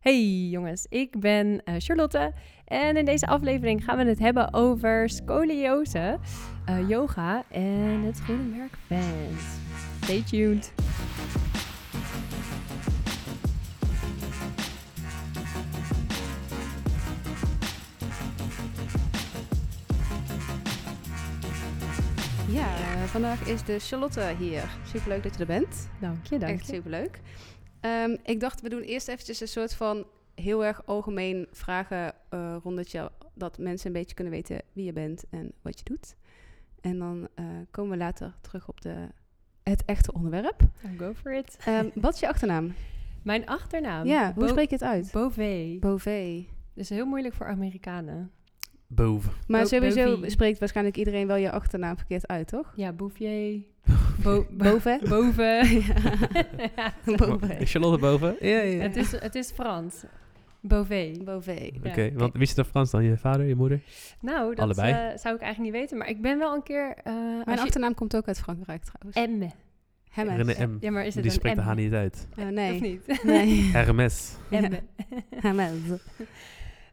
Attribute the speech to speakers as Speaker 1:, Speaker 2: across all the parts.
Speaker 1: Hey jongens, ik ben eh, Charlotte en in deze aflevering gaan we het hebben over scoliose, eh, yoga en het goede merk Vans. Stay tuned.
Speaker 2: Ja, eh, vandaag is de Charlotte hier. Superleuk dat je er bent.
Speaker 1: Dank je, dank
Speaker 2: Echt
Speaker 1: je.
Speaker 2: superleuk. Ehm, ik dacht, we doen eerst eventjes een soort van heel erg algemeen vragen eh rondetje. Dat mensen een beetje kunnen weten wie je bent en wat je doet. En dan eh, komen we later terug op de, het echte onderwerp.
Speaker 1: Nou, Go for it.
Speaker 2: Ehm, wat is je achternaam?
Speaker 1: Mijn achternaam.
Speaker 2: ja, hoe
Speaker 1: Bo-
Speaker 2: spreek je het uit?
Speaker 1: Bové.
Speaker 2: Bové.
Speaker 1: Dus heel moeilijk voor Amerikanen.
Speaker 3: Boven.
Speaker 2: Maar
Speaker 1: Bo-
Speaker 2: sowieso
Speaker 1: Bovie.
Speaker 2: spreekt waarschijnlijk iedereen wel je achternaam verkeerd uit, toch?
Speaker 1: Ja, Bouvier. Bo- bo-
Speaker 2: Bové?
Speaker 1: boven. Ja,
Speaker 2: Bové.
Speaker 3: Charlotte boven? Ja, ja.
Speaker 1: het, is, het is Frans. Bové.
Speaker 2: Bové.
Speaker 3: Oké,
Speaker 1: Ja, kijk.
Speaker 3: want wie is er Frans dan? Je vader, je moeder?
Speaker 1: Nou, dat
Speaker 3: Allebei.
Speaker 1: eh, zou ik eigenlijk niet weten, maar ik ben wel een keer... eh
Speaker 2: Mijn
Speaker 1: als je-
Speaker 2: achternaam komt ook uit Frankrijk trouwens.
Speaker 1: M.
Speaker 2: Hermes.
Speaker 3: René M.
Speaker 1: Ja, maar is het
Speaker 3: Die
Speaker 1: een
Speaker 3: spreekt de
Speaker 1: M?
Speaker 3: H niet uit.
Speaker 2: Oh,
Speaker 1: Of
Speaker 2: nee.
Speaker 1: niet?
Speaker 2: nee.
Speaker 3: Hermes.
Speaker 1: M.
Speaker 2: Ja. Hermes.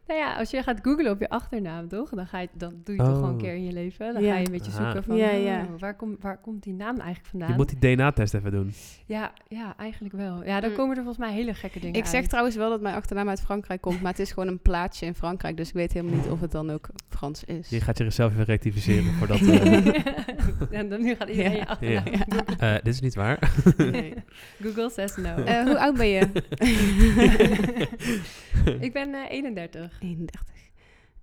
Speaker 1: Nou ja, als je gaat googlen op je achternaam, toch? Dan, ga je, dan doe je toch
Speaker 3: Oh.
Speaker 1: gewoon een keer in je leven. Dan
Speaker 2: Ja.
Speaker 1: ga je een beetje
Speaker 3: Aha.
Speaker 1: zoeken van...
Speaker 2: Ja, ja.
Speaker 1: oh, waar, kom, waar komt die naam eigenlijk vandaan?
Speaker 3: Je moet die DNA-test even doen.
Speaker 1: ja, ja, eigenlijk wel. Ja, dan
Speaker 2: Mm.
Speaker 1: komen er volgens mij hele gekke dingen
Speaker 2: Ik zeg
Speaker 1: uit.
Speaker 2: trouwens wel dat mijn achternaam uit Frankrijk komt, maar het is gewoon een plaatsje in Frankrijk, dus ik weet helemaal niet of het dan ook Frans is.
Speaker 3: Je gaat jezelf even rectificeren voordat... eh,
Speaker 1: en dan nu gaat iedereen je achternaam
Speaker 3: Ja.
Speaker 1: googlen.
Speaker 3: eh, dit is niet waar.
Speaker 2: Nee.
Speaker 1: Google says no.
Speaker 2: Eh, hoe oud ben je?
Speaker 1: ik ben eh, 31.
Speaker 2: 31.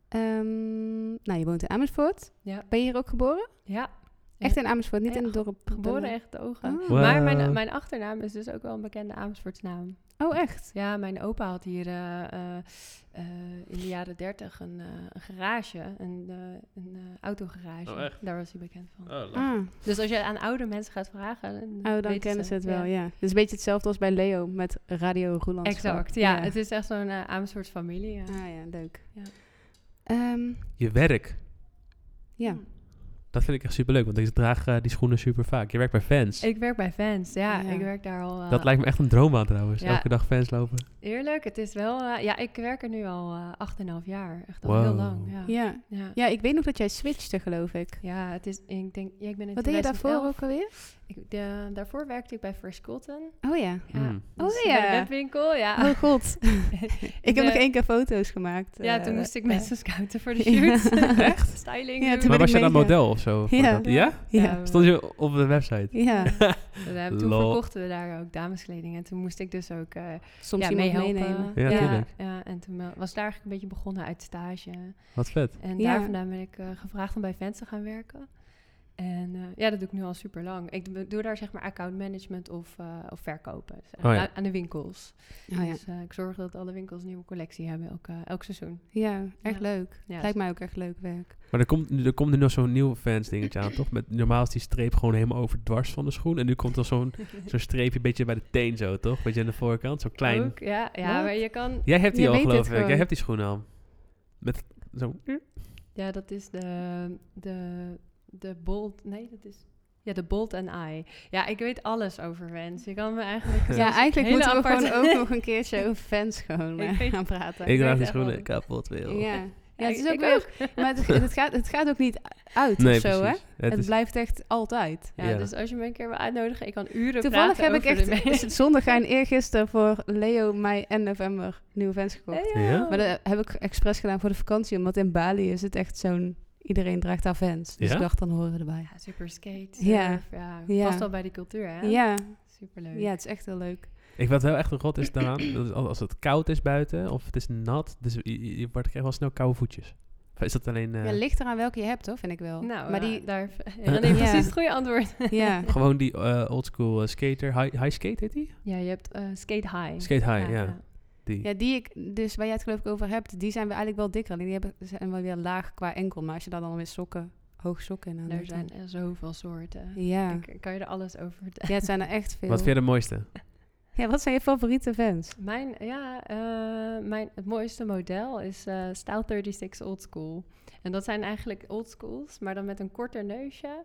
Speaker 2: Ehm, nou, je woont in Amersfoort.
Speaker 1: Ja.
Speaker 2: Ben je hier ook geboren?
Speaker 1: Ja,
Speaker 2: Echt in Amersfoort, niet
Speaker 1: Ja,
Speaker 2: in het dorp.
Speaker 1: geboren
Speaker 2: Den-
Speaker 1: echt de ogen.
Speaker 2: Oh.
Speaker 3: Wow.
Speaker 1: Maar mijn, mijn achternaam is dus ook wel een bekende Amersfoortsnaam.
Speaker 2: oh, echt?
Speaker 1: Ja, mijn opa had hier eh, eh, eh, in de jaren dertig een, eh, een garage, een, eh, een eh, autogarage.
Speaker 3: Oh, echt?
Speaker 1: Daar was hij bekend van.
Speaker 2: Ah,
Speaker 1: Dus als je aan oude mensen gaat vragen...
Speaker 2: oh, dan
Speaker 1: weten
Speaker 2: kennen ze het wel,
Speaker 1: Ja.
Speaker 2: ja. Het is een beetje hetzelfde als bij Leo met Radio Roeland.
Speaker 1: Exact, ja. Het is echt zo'n eh Amersfoort familie. Ja.
Speaker 2: Ah ja, leuk.
Speaker 1: Ja.
Speaker 2: Ehm,
Speaker 3: Je werk.
Speaker 2: ja.
Speaker 1: Hm.
Speaker 3: Dat vind ik echt superleuk, want ik draag eh, die schoenen super vaak. Je werkt bij fans.
Speaker 1: Ik werk bij Vans, ja.
Speaker 2: Ja.
Speaker 1: Ik werk daar al... eh,
Speaker 3: Dat lijkt me echt een droom aan trouwens.
Speaker 1: Ja.
Speaker 3: Elke dag fans lopen.
Speaker 1: Eerlijk, het is wel... eh, ja, ik werk er nu al eh, acht en een half jaar. Echt al
Speaker 3: Wow.
Speaker 1: heel lang, ja. Ja,
Speaker 2: Ja.
Speaker 1: ja.
Speaker 2: ja, ik weet nog dat jij switchte, geloof ik.
Speaker 1: het is... Ik denk... Ja, ik ben in
Speaker 2: Wat deed je daarvoor
Speaker 1: 2011
Speaker 2: ook alweer?
Speaker 1: Ik, de- daarvoor werkte ik bij Fresh Cotton.
Speaker 2: Oh ja.
Speaker 1: Ja.
Speaker 3: Mm.
Speaker 2: Oh
Speaker 1: Dus bij de
Speaker 2: ja.
Speaker 1: webwinkel, ja.
Speaker 2: Oh god. ik
Speaker 1: De-
Speaker 2: heb nog één keer foto's gemaakt.
Speaker 1: Ja,
Speaker 2: eh,
Speaker 1: toen moest ik
Speaker 2: eh,
Speaker 1: mensen scouten voor de
Speaker 2: Ja.
Speaker 1: shoot. Echt? Styling.
Speaker 2: Ja,
Speaker 1: doen.
Speaker 2: toen ben
Speaker 3: Maar was
Speaker 2: ik
Speaker 3: je dan
Speaker 2: mega-
Speaker 3: model of zo? voor
Speaker 2: Ja.
Speaker 3: dat? Ja?
Speaker 2: Ja.
Speaker 3: Stond je op de website?
Speaker 2: Ja.
Speaker 1: Ja, toen
Speaker 3: Lol.
Speaker 1: verkochten we daar ook dameskleding. En toen moest ik dus ook eh
Speaker 2: Soms
Speaker 1: ja,
Speaker 2: iemand
Speaker 1: meehelpen.
Speaker 2: meenemen.
Speaker 3: Ja, tuurlijk.
Speaker 1: ja, en toen eh, was daar eigenlijk een beetje begonnen uit stage.
Speaker 3: Wat vet.
Speaker 1: En
Speaker 2: Ja.
Speaker 1: daar vandaan ben ik eh, gevraagd om bij Vans te gaan werken. En eh, ja, dat doe ik nu al super lang. Ik do- doe daar zeg maar account management of, eh, of verkopen. Dus, eh,
Speaker 3: Oh ja.
Speaker 1: aan, aan de winkels.
Speaker 2: Oh, ja.
Speaker 1: Dus eh, ik zorg dat alle winkels een nieuwe collectie hebben elk, eh, elk seizoen.
Speaker 2: ja, echt
Speaker 1: Ja.
Speaker 2: leuk.
Speaker 1: Ja,
Speaker 2: Lijkt mij ook echt leuk werk.
Speaker 3: Maar er komt, nu- er komt nu nog zo'n nieuw fans dingetje aan, toch? Met, normaal is die streep gewoon helemaal over dwars van de schoen. En nu komt er zo'n zo'n streepje een beetje bij de teen zo, toch? Beetje aan de voorkant, zo klein.
Speaker 1: Ook, ja, ja
Speaker 2: Wat?
Speaker 1: maar je kan...
Speaker 3: Jij hebt die
Speaker 2: Oh. Je
Speaker 3: al,
Speaker 2: weet het
Speaker 3: geloof ik.
Speaker 2: gewoon.
Speaker 3: Jij hebt die schoen al. Met zo...
Speaker 1: Ja, dat is de, de, de Bolt. Nee, dat is. Ja, de Bolt en I. Ja, ik weet alles over Wens. Je kan me eigenlijk.
Speaker 2: Ja, eigenlijk
Speaker 1: Hele
Speaker 2: moeten we
Speaker 1: aparte-
Speaker 2: gewoon ook nog een keertje over fans gewoon
Speaker 1: Ik
Speaker 2: eh,
Speaker 1: weet-
Speaker 2: gaan praten.
Speaker 3: Ik draag
Speaker 1: weet
Speaker 3: die
Speaker 1: echt wel.
Speaker 3: schoenen kapot, wil.
Speaker 2: Ja. ja, het is
Speaker 1: ik-
Speaker 2: ook
Speaker 1: ik
Speaker 2: leuk. Maar het, het, gaat, het gaat ook niet uit
Speaker 3: Nee,
Speaker 2: of zo, hè?
Speaker 3: precies. Het
Speaker 2: Het
Speaker 3: is-
Speaker 2: blijft echt altijd.
Speaker 1: Ja,
Speaker 3: Ja.
Speaker 1: dus als je me een keer wil uitnodigen, ik kan uren
Speaker 2: Toevallig
Speaker 1: praten
Speaker 2: heb ik
Speaker 1: over de
Speaker 2: echt
Speaker 1: mensen.
Speaker 2: zonder gein eergisteren voor Leo, mei en november nieuwe fans gekocht.
Speaker 3: Ja?
Speaker 2: Maar dat heb ik expres gedaan voor de vakantie, omdat in Bali is het echt zo'n... Iedereen draagt daar fans. Dus
Speaker 3: Ja?
Speaker 2: ik dacht, dan horen we erbij.
Speaker 1: Ja, super skate.
Speaker 2: Ja.
Speaker 1: surf, ja.
Speaker 2: Ja.
Speaker 1: Past wel bij die cultuur, hè?
Speaker 2: Ja,
Speaker 1: Superleuk.
Speaker 2: ja, het is echt heel leuk.
Speaker 3: Ik wat heel echt een rot is daaraan, dat is als als het koud is buiten of het is nat, dus je, je- je wordt krijgt wel snel koude voetjes. Of is dat alleen eh,
Speaker 2: Ja, ligt eraan welke je hebt, hoor, vind ik wel.
Speaker 1: Nou,
Speaker 2: maar
Speaker 1: maar
Speaker 2: die,
Speaker 1: daar ja, dan heeft
Speaker 2: Ja.
Speaker 1: precies het goede antwoord.
Speaker 2: ja.
Speaker 3: gewoon die eh, oldschool eh, skater, high, high skate heet die?
Speaker 1: Ja, je hebt eh, skate high.
Speaker 3: Skate high, ja. Die.
Speaker 2: ja, die ik, dus waar jij het geloof ik over hebt, die zijn we eigenlijk wel dikker. Alleen die hebben, zijn wel weer laag qua enkel. Maar als je daar dan weer sokken, hoog sokken in aan
Speaker 1: Er
Speaker 2: doet,
Speaker 1: zijn
Speaker 2: dan-
Speaker 1: er zoveel soorten.
Speaker 2: Ja.
Speaker 1: Ik- kan je er alles over vertellen?
Speaker 2: ja, het zijn er echt veel.
Speaker 3: Wat vind je de mooiste?
Speaker 2: Ja, wat zijn je favoriete fans?
Speaker 1: Mijn, ja, eh, mijn, het mooiste model is eh Style 36 Old School. En dat zijn eigenlijk old schools, maar dan met een korter neusje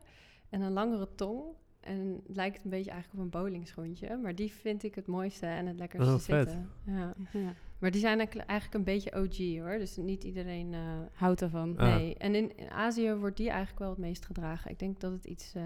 Speaker 1: en een langere tong. En het lijkt een beetje eigenlijk op een bowlingschoentje. Maar die vind ik het mooiste en het lekkerste
Speaker 3: Oh, vet.
Speaker 1: zitten. Ja.
Speaker 2: Ja.
Speaker 1: Maar die zijn eigenlijk eigenlijk een beetje OG hoor. Dus niet iedereen. eh,
Speaker 2: Houd ervan.
Speaker 3: Ah.
Speaker 1: Nee. En in, in Azië wordt die eigenlijk wel het meest gedragen. Ik denk dat het iets, eh,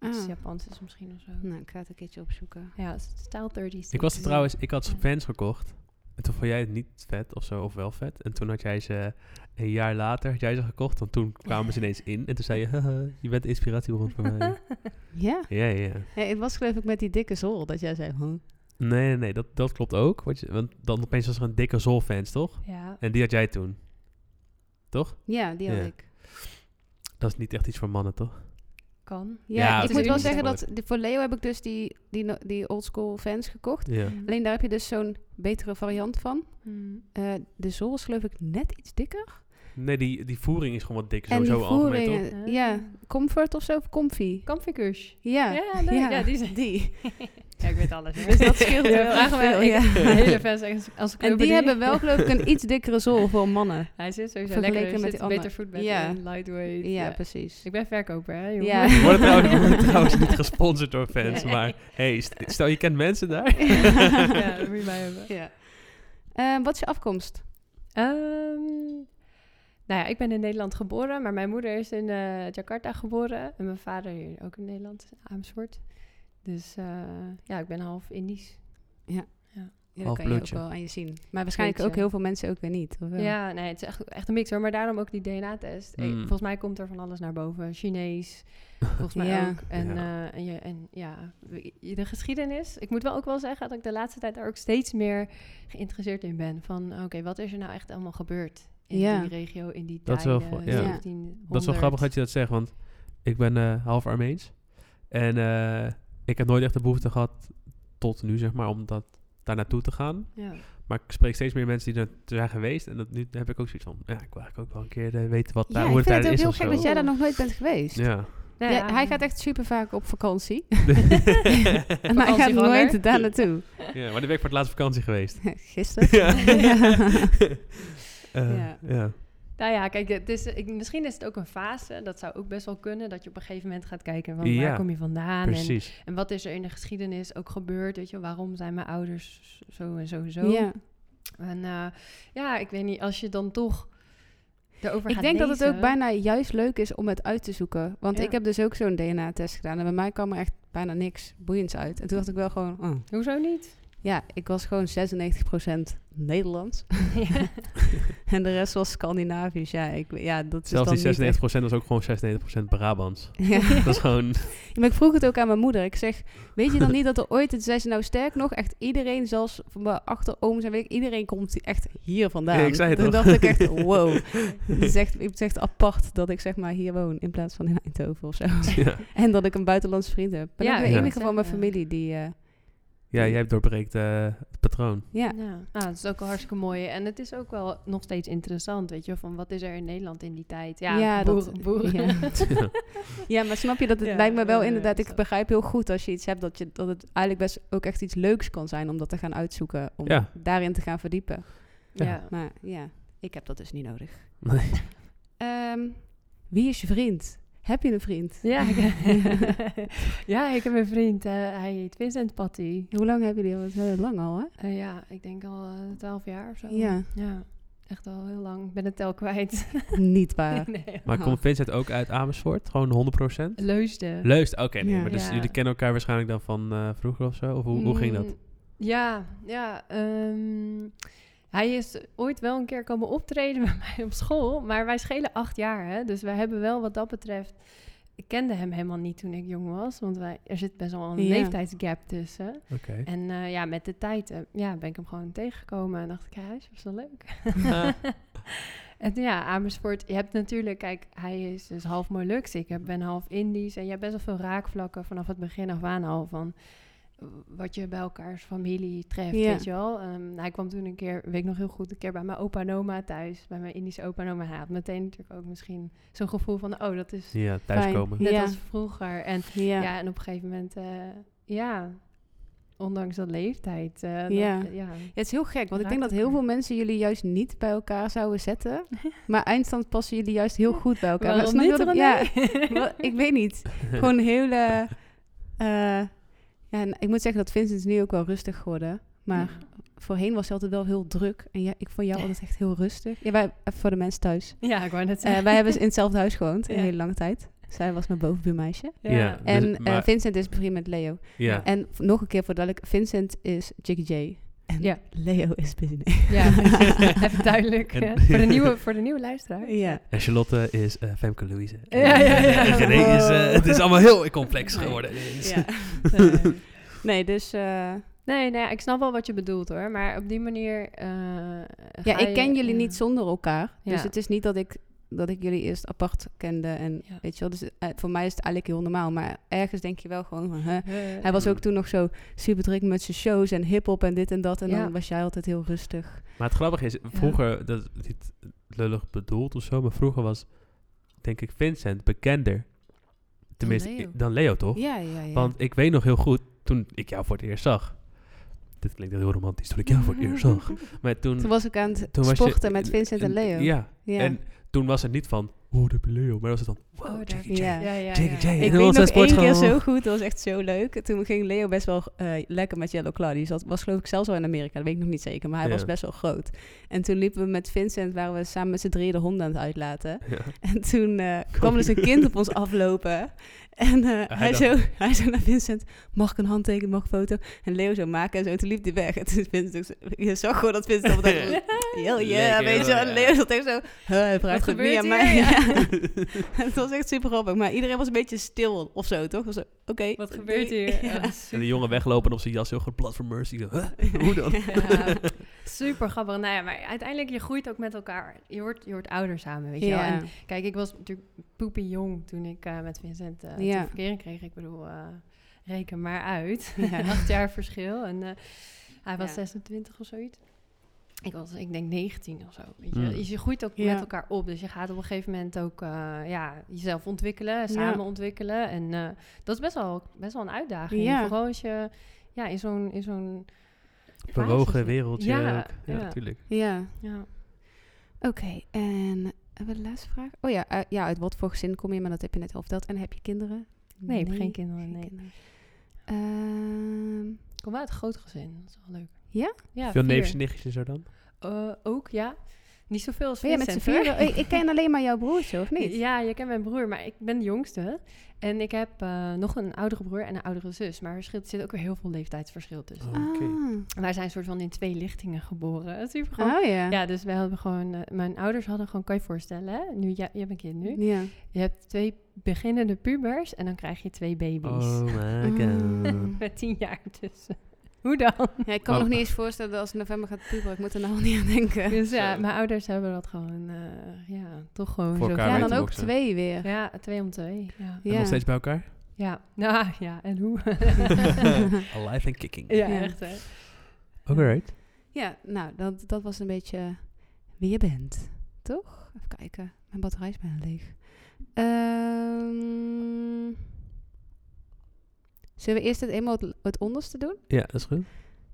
Speaker 1: iets
Speaker 2: Ah.
Speaker 1: Japans is misschien of zo.
Speaker 2: Nou, ik ga het een keertje opzoeken.
Speaker 1: Ja, het is style 30.
Speaker 3: Ik was er trouwens, ik had
Speaker 1: Ja.
Speaker 3: fans gekocht. En toen vond jij het niet vet of zo, of wel vet. En toen had jij ze een jaar later had jij ze gekocht. Want toen kwamen ze ineens in. En toen zei je, haha, je bent de inspiratiebron voor mij.
Speaker 2: Ja.
Speaker 3: Ja, ja.
Speaker 2: ja. Het was geloof ik met die dikke zol dat jij zei. Huh?
Speaker 3: Nee, nee, nee, dat, dat klopt ook. Wat je, want dan opeens was er een dikke Zol-fans, toch?
Speaker 1: Ja.
Speaker 3: En die had jij toen. Toch?
Speaker 2: Ja, die had
Speaker 3: Ja.
Speaker 2: ik.
Speaker 3: Dat is niet echt iets voor mannen, toch?
Speaker 1: Kan.
Speaker 2: Ja,
Speaker 3: Ja,
Speaker 2: ik moet wel
Speaker 1: natuurlijk.
Speaker 2: zeggen dat de- voor Leo heb ik dus die, die, no- die oldschool fans gekocht.
Speaker 3: Ja.
Speaker 1: Mhm.
Speaker 2: Alleen daar heb je dus zo'n betere variant van.
Speaker 1: Mhm.
Speaker 2: Eh, de zool is geloof ik net iets dikker.
Speaker 3: Nee, die, die voering is gewoon wat dikker.
Speaker 2: en die
Speaker 3: Sowieso algemeen, toch?
Speaker 2: voeringen, Eh,
Speaker 1: Oh.
Speaker 2: ja, comfort of zo, of comfy.
Speaker 1: Comfigures.
Speaker 2: Ja,
Speaker 1: Ja, leuk. Ja, die zijn-
Speaker 2: die.
Speaker 1: Ja, ik weet alles. hè.
Speaker 2: Dus dat scheelt
Speaker 1: Ja,
Speaker 2: wel
Speaker 1: vraag
Speaker 2: echt
Speaker 1: me-
Speaker 2: veel,
Speaker 1: ik-
Speaker 2: ja.
Speaker 1: mijn hele fans als, als ik
Speaker 2: En die hebben wel geloof ik een iets dikkere zool voor mannen.
Speaker 1: Hij zit sowieso
Speaker 2: Vergeleken
Speaker 1: lekker met
Speaker 2: met
Speaker 1: zit
Speaker 2: die
Speaker 1: een beter
Speaker 2: andere.
Speaker 1: voetbed
Speaker 2: Ja.
Speaker 1: in, lightweight.
Speaker 2: Ja,
Speaker 1: Ja.
Speaker 2: precies.
Speaker 1: Ik ben verkoper, hè, jongen?
Speaker 2: Ja.
Speaker 3: We worden trouwens, we worden trouwens niet gesponsord door fans.
Speaker 1: Nee.
Speaker 3: Maar hey, st- stel je kent mensen daar.
Speaker 1: ja, dat moet je bij hebben.
Speaker 2: Ja. Eh, wat is je afkomst?
Speaker 1: Ehm, nou ja, ik ben in Nederland geboren, maar mijn moeder is in eh, Jakarta geboren. En mijn vader hier ook in Nederland, in Amersfoort. Dus eh, ja, ik ben half Indisch.
Speaker 2: Ja, dat
Speaker 3: Half
Speaker 2: kan je ook
Speaker 3: Oh, bloedje.
Speaker 2: wel aan je zien. Maar waarschijnlijk ook
Speaker 1: Bloedje.
Speaker 2: heel veel mensen ook weer niet. Of wel?
Speaker 1: Ja, nee, het is echt, echt een mix hoor. Maar daarom ook die DNA-test. Eh,
Speaker 3: Mm.
Speaker 1: Volgens mij komt er van alles naar boven. Chinees, volgens mij
Speaker 2: Ja.
Speaker 1: ook. En
Speaker 3: Ja.
Speaker 1: ja, en je, en, ja we- je- de geschiedenis. Ik moet wel ook wel zeggen dat ik de laatste tijd daar ook steeds meer geïnteresseerd in ben. Van oké, wat is er nou echt allemaal gebeurd in
Speaker 2: Ja.
Speaker 1: die regio, in die
Speaker 3: Dat is wel
Speaker 1: tijden,
Speaker 3: vo- ja.
Speaker 1: 1700.
Speaker 3: Dat is wel grappig dat je dat zegt, want ik ben eh, half Armeens. En eh, ik heb nooit echt de behoefte gehad, tot nu zeg maar, om dat, daar naartoe te gaan.
Speaker 1: Ja.
Speaker 3: Maar ik spreek steeds meer mensen die er te zijn geweest. En dat, nu heb ik ook zoiets van, ja, ik wil eigenlijk ook wel een keer eh, weten wat daar,
Speaker 2: Ja, ik
Speaker 3: hoe het
Speaker 2: vind het ook
Speaker 3: daar is
Speaker 2: heel
Speaker 3: of
Speaker 2: gek
Speaker 3: zo.
Speaker 2: dat jij daar nog nooit bent geweest.
Speaker 3: Ja.
Speaker 1: Nou
Speaker 2: Ja,
Speaker 1: ja.
Speaker 2: hij gaat echt super vaak op vakantie. maar hij gaat
Speaker 1: Vakantieganger.
Speaker 2: nooit daar naartoe.
Speaker 3: ja, maar nu ben ik voor de laatste vakantie geweest.
Speaker 2: Gisteren.
Speaker 3: ja. Eh,
Speaker 2: Ja.
Speaker 3: ja.
Speaker 1: Nou ja, kijk, het is, ik, misschien is het ook een fase. Dat zou ook best wel kunnen. Dat je op een gegeven moment gaat kijken van
Speaker 3: Ja,
Speaker 1: waar kom je vandaan. En,
Speaker 2: Dus
Speaker 3: precies.
Speaker 1: en wat is er in de geschiedenis ook gebeurd. Weet je, waarom zijn mijn ouders zo en zo en zo.
Speaker 2: Ja.
Speaker 1: En eh, ja, ik weet niet, als je dan toch erover
Speaker 2: Ik
Speaker 1: gaat
Speaker 2: denk dat het
Speaker 1: lezen-
Speaker 2: ook bijna juist leuk is om het uit te zoeken. Want
Speaker 1: Ja.
Speaker 2: ik heb dus ook zo'n DNA-test gedaan. En bij mij kwam er echt bijna niks boeiends uit. En toen dacht ik wel gewoon... oh,
Speaker 1: Hoezo niet?
Speaker 2: Ja, ik was gewoon 96% Nederlands. en de rest was Scandinavisch. Ja, ik, ja dat is
Speaker 3: Zelfs
Speaker 2: dan
Speaker 3: die 96%
Speaker 2: niet echt-
Speaker 3: was ook gewoon 96% Brabants.
Speaker 2: Ja.
Speaker 3: Dat is gewoon...
Speaker 2: Ja, Maar ik vroeg het ook aan mijn moeder. Ik zeg, weet je dan niet dat er ooit, het zei ze nou sterk nog, echt iedereen, zelfs van mijn achteroom en weet ik, iedereen komt die- echt hier vandaan.
Speaker 3: Ja, ik zei het
Speaker 2: Toen
Speaker 3: al.
Speaker 2: dacht ik echt, wow. Het is echt, het is echt apart dat ik zeg maar hier woon in plaats van in Eindhoven of zo.
Speaker 3: ja.
Speaker 2: En dat ik een buitenlandse vriend heb. Maar
Speaker 1: Ja,
Speaker 2: ja,
Speaker 1: ik
Speaker 2: de
Speaker 1: wou
Speaker 2: enige van mijn
Speaker 1: zeggen.
Speaker 2: familie die, eh,
Speaker 3: ja, jij doorbreekt eh, het patroon.
Speaker 2: ja.
Speaker 1: Ja, ah, het is ook wel hartstikke mooi. En het is ook wel nog steeds interessant, weet je, van wat is er in Nederland in die tijd? Ja,
Speaker 2: Ja,
Speaker 1: boeren,
Speaker 2: dat-
Speaker 1: boeren.
Speaker 2: Ja.
Speaker 3: Ja.
Speaker 2: Ja, maar snap je dat het
Speaker 1: Ja,
Speaker 2: lijkt me wel
Speaker 1: ja, ja,
Speaker 2: inderdaad.
Speaker 1: is
Speaker 2: Ik
Speaker 1: dat.
Speaker 2: begrijp heel goed als je iets hebt dat, je, dat het eigenlijk best ook echt iets leuks kan zijn om dat te gaan uitzoeken. Om
Speaker 3: Ja.
Speaker 2: daarin te gaan verdiepen.
Speaker 1: Ja.
Speaker 3: Ja.
Speaker 2: Maar ja, ik heb dat dus niet nodig.
Speaker 3: Nee.
Speaker 2: Ehm, wie is je vriend? Heb je een vriend?
Speaker 1: Ja, ik, ja, ik heb een vriend, eh, hij heet Vincent Patty.
Speaker 2: Hoe lang hebben jullie al? Dat is heel lang al, hè?
Speaker 1: Eh, ja, ik denk al eh, twaalf jaar of zo.
Speaker 2: Ja,
Speaker 1: Ja, echt al heel lang. Ik ben het tel kwijt.
Speaker 2: niet waar.
Speaker 1: nee.
Speaker 3: Maar
Speaker 2: Ah.
Speaker 3: komt Vincent ook uit Amersfoort? Gewoon 100%?
Speaker 1: Leusden.
Speaker 3: Leust, oké. nee,
Speaker 2: Ja.
Speaker 3: Maar dus
Speaker 1: Ja.
Speaker 3: jullie kennen elkaar waarschijnlijk dan van eh, vroeger of zo? Of hoe, hoe ging dat?
Speaker 1: Mm, Ja, ja. ehm, hij is ooit wel een keer komen optreden bij mij op school, maar wij schelen acht jaar, hè? dus wij hebben wel wat dat betreft. Ik kende hem helemaal niet toen ik jong was, want wij, er zit best wel een
Speaker 2: Ja.
Speaker 1: leeftijdsgap tussen.
Speaker 3: Oké.
Speaker 1: En eh, ja, met de tijd eh, ja, ben ik hem gewoon tegengekomen en dacht ik, hij is best wel leuk.
Speaker 3: Ah.
Speaker 1: en ja, Amersfoort, je hebt natuurlijk, kijk, hij is dus half Molux, ik heb- ben half Indisch en je hebt best wel veel raakvlakken vanaf het begin af aan al van eh, wat je bij elkaars familie treft,
Speaker 2: Ja.
Speaker 1: weet je wel. Ehm, hij kwam toen een keer, weet ik nog heel goed, een keer bij mijn opa en oma thuis, bij mijn Indische opa en oma. Hij had meteen natuurlijk ook misschien zo'n gevoel van, oh, dat is
Speaker 3: Ja, thuiskomen.
Speaker 1: net
Speaker 2: Ja.
Speaker 1: als vroeger. En
Speaker 2: Ja.
Speaker 1: ja. en op een gegeven moment, eh, ja, ondanks dat leeftijd. eh, dat-
Speaker 2: Ja.
Speaker 1: ja.
Speaker 2: Ja, het is heel gek, want ik
Speaker 1: Raakt
Speaker 2: denk dat heel
Speaker 1: elkaar.
Speaker 2: veel mensen jullie juist niet bij elkaar zouden zetten. Maar eindstand passen jullie juist heel goed bij elkaar. Maar
Speaker 1: Waarom
Speaker 2: snap je
Speaker 1: niet,
Speaker 2: wat ik-
Speaker 1: René?
Speaker 2: ja, Wel, ik weet niet. Gewoon heel... eh, eh, ja, en ik moet zeggen dat Vincent is nu ook wel rustig geworden. Maar voorheen was je altijd wel heel druk. En ja, ik vond jou altijd echt heel rustig. Ja, wij, even voor de mensen thuis.
Speaker 1: Ja, ik wou net
Speaker 2: Eh,
Speaker 1: zeggen.
Speaker 2: wij hebben in hetzelfde huis gewoond,
Speaker 1: Ja.
Speaker 2: een hele lange tijd. Zij was mijn bovenbuurmeisje.
Speaker 1: Ja.
Speaker 3: Ja. Dus-
Speaker 2: En eh,
Speaker 3: maar-
Speaker 2: Vincent is bevriend met Leo.
Speaker 3: Ja.
Speaker 2: En v- nog een keer voor duidelijk, Vincent is Jiggy J. En
Speaker 1: Ja.
Speaker 2: Leo is Busy.
Speaker 1: Ja, precies. even duidelijk.
Speaker 3: En-
Speaker 1: hè. voor, de nieuwe, voor de nieuwe luisteraar.
Speaker 2: ja.
Speaker 3: En Charlotte is eh, Femke Louise.
Speaker 1: Ja, ja, ja.
Speaker 3: En René is, eh,
Speaker 2: Wow.
Speaker 3: het is allemaal heel complex
Speaker 2: Oh. Nee.
Speaker 3: geworden. ineens.
Speaker 2: ja.
Speaker 1: Nee.
Speaker 2: Eh, Nee, dus... eh,
Speaker 1: Nee, nee, ik snap wel wat je bedoelt hoor. Maar op die manier. eh,
Speaker 2: ja,
Speaker 1: ga
Speaker 2: ik ken
Speaker 1: je- eh,
Speaker 2: jullie
Speaker 1: ja.
Speaker 2: niet zonder elkaar. Dus
Speaker 1: Ja.
Speaker 2: het is niet dat ik, dat ik jullie eerst apart kende. En
Speaker 1: Ja.
Speaker 2: weet je wel, dus eh, voor mij is het eigenlijk heel normaal. Maar ergens denk je wel gewoon van... hè.
Speaker 1: Eh,
Speaker 2: Hij was ook
Speaker 3: Mm.
Speaker 2: toen nog zo super druk met zijn shows en hip-hop en dit en dat. En
Speaker 1: Ja.
Speaker 2: dan was jij altijd heel rustig.
Speaker 3: Maar het grappige is, vroeger, dat is niet lullig bedoeld of zo, maar vroeger was, denk ik, Vincent bekender. Tenminste,
Speaker 2: Leo.
Speaker 3: i- dan Leo, toch?
Speaker 2: Ja, ja, ja.
Speaker 3: Want ik weet nog heel goed, toen ik jou voor het eerst zag. Dit klinkt heel romantisch, toen ik jou voor het eerst zag. Maar toen,
Speaker 2: toen was ik aan het
Speaker 3: toen was je-
Speaker 2: sporten met Vincent en Leo.
Speaker 3: Ja,
Speaker 2: Ja.
Speaker 3: en toen was het niet van, oh, daar heb je Leo. Maar was het dan, wow,
Speaker 1: Oh, daar-
Speaker 3: Jackie Chan.
Speaker 2: ja.
Speaker 1: ja, ja,
Speaker 3: Jackie
Speaker 1: ja.
Speaker 3: J.
Speaker 2: Ik
Speaker 3: En dan
Speaker 2: weet
Speaker 3: was
Speaker 2: nog
Speaker 3: hij
Speaker 2: één keer
Speaker 3: sportschool.
Speaker 2: zo goed, dat was echt zo leuk. Toen ging Leo best wel eh, lekker met Yellow Claw. Die zat, was geloof ik zelfs al in Amerika, dat weet ik nog niet zeker. Maar hij
Speaker 3: Ja.
Speaker 2: was best wel groot. En toen liepen we met Vincent, waren we samen met z'n drieën de honden aan het uitlaten.
Speaker 3: Ja.
Speaker 2: En toen eh, kwam dus een kind op ons aflopen. En eh, hij,
Speaker 3: dacht-
Speaker 2: zo, hij zo naar Vincent, mag ik een handtekening, mag ik een foto? En Leo zo maken en zo. En toen liep hij weg. En toen Vincent, ook zo- je zag gewoon dat Vincent op het Heel ja,
Speaker 3: Lekker,
Speaker 2: weet je wel.
Speaker 3: ja.
Speaker 2: En Leo zat echt zo, "Huh, hij vraagt het niet
Speaker 1: gebeurt
Speaker 2: aan
Speaker 1: hier?
Speaker 2: mij.
Speaker 1: Ja.
Speaker 2: het was echt super grappig. Maar iedereen was een beetje stil of zo, toch? Was zo, Oké.
Speaker 1: Wat gebeurt
Speaker 2: doei."
Speaker 1: hier? Oh.
Speaker 2: Ja.
Speaker 1: Ja,
Speaker 3: En
Speaker 1: super-
Speaker 3: de jongen weglopen op zijn jas, heel goed, Blood for Mercy. Ik dacht, huh? Hoe dan?
Speaker 1: Nou Ja, super grappig. Nou ja, maar uiteindelijk, je groeit ook met elkaar. Je wordt, je wordt ouder samen, weet je wel. En
Speaker 2: Ja.
Speaker 1: kijk, ik was natuurlijk poepie jong toen ik eh, met Vincent eh
Speaker 2: Ja.
Speaker 1: de verkering kreeg. Ik bedoel, eh, reken maar uit.
Speaker 2: Ja.
Speaker 1: Acht jaar verschil. En eh, hij was
Speaker 2: Ja.
Speaker 1: 26 of zoiets. Ik was, ik denk 19 of zo. Weet je.
Speaker 3: Mm.
Speaker 1: Dus je groeit ook
Speaker 2: Ja.
Speaker 1: met elkaar op. Dus je gaat op een gegeven moment ook eh, ja, jezelf ontwikkelen, samen ontwikkelen. En eh, dat is best wel, best wel een uitdaging.
Speaker 2: Ja.
Speaker 1: Vooral als je ja, in zo'n... In zo'n fase
Speaker 3: Bewogen
Speaker 1: zit.
Speaker 3: wereldje.
Speaker 1: Ja,
Speaker 3: ook. ja,
Speaker 1: ja.
Speaker 3: natuurlijk.
Speaker 2: Ja.
Speaker 1: Ja.
Speaker 2: Oké, en hebben we de laatste vraag? Oh ja, eh, ja, uit wat voor gezin kom je? Maar dat heb je net al verteld. En heb je kinderen?
Speaker 1: Nee, ik heb geen kinderen.
Speaker 2: geen
Speaker 1: Nee.
Speaker 2: kinderen. Ehm,
Speaker 1: Ik kom wel uit een groot gezin. Dat is wel leuk.
Speaker 2: Ja?
Speaker 1: Ja,
Speaker 3: Veel
Speaker 1: vier.
Speaker 3: neefjes en nichtjes en zo dan?
Speaker 1: Eh, ook, ja. Niet zoveel als
Speaker 2: ben jij met z'n
Speaker 1: Vincent, hoor.
Speaker 2: vieren? Oh, ik- ik ken alleen maar jouw broertje, of niet?
Speaker 1: Ja, je kent mijn broer, maar ik ben de jongste. En ik heb eh, nog een oudere broer en een oudere zus. Maar er scheelt- zit ook weer heel veel leeftijdsverschil tussen.
Speaker 2: Ah.
Speaker 3: Oh, oké.
Speaker 1: En wij zijn soort van in twee lichtingen geboren. Super
Speaker 2: Ah.
Speaker 1: grappig.
Speaker 2: Oh ja.
Speaker 1: Ja, dus wij hadden gewoon... eh, mijn ouders hadden gewoon, kan je je voorstellen, hè? Nu, jij je hebt een kind nu.
Speaker 2: Ja.
Speaker 1: Je hebt twee beginnende pubers en dan krijg je twee baby's.
Speaker 3: Oh my god.
Speaker 2: Mm.
Speaker 1: Met tien jaar tussen. Hoe dan?
Speaker 2: Ja, ik kan
Speaker 3: Oh.
Speaker 2: me nog niet eens voorstellen dat als het november gaat puberen, ik moet er nou al niet aan denken.
Speaker 1: Dus ja,
Speaker 3: Zo.
Speaker 1: mijn ouders hebben dat gewoon, eh, ja, toch gewoon
Speaker 3: eh, Voor
Speaker 1: zo.
Speaker 3: elkaar
Speaker 2: Ja,
Speaker 3: weten
Speaker 2: dan
Speaker 3: we
Speaker 2: ook
Speaker 3: ook zo.
Speaker 2: twee weer.
Speaker 1: Ja, twee om twee. Ja,
Speaker 3: En
Speaker 2: Ja.
Speaker 3: nog steeds bij elkaar?
Speaker 1: ja. Nou, ja en hoe?
Speaker 3: Alive and kicking.
Speaker 1: ja,
Speaker 2: Ja.
Speaker 1: echt hè.
Speaker 3: Alright.
Speaker 2: Ja, nou, dat, dat was een beetje eh, wie je bent, toch? Even kijken, mijn batterij is bijna leeg. Ehm, zullen we eerst het eenmaal het, het onderste doen?
Speaker 3: Ja, dat is goed.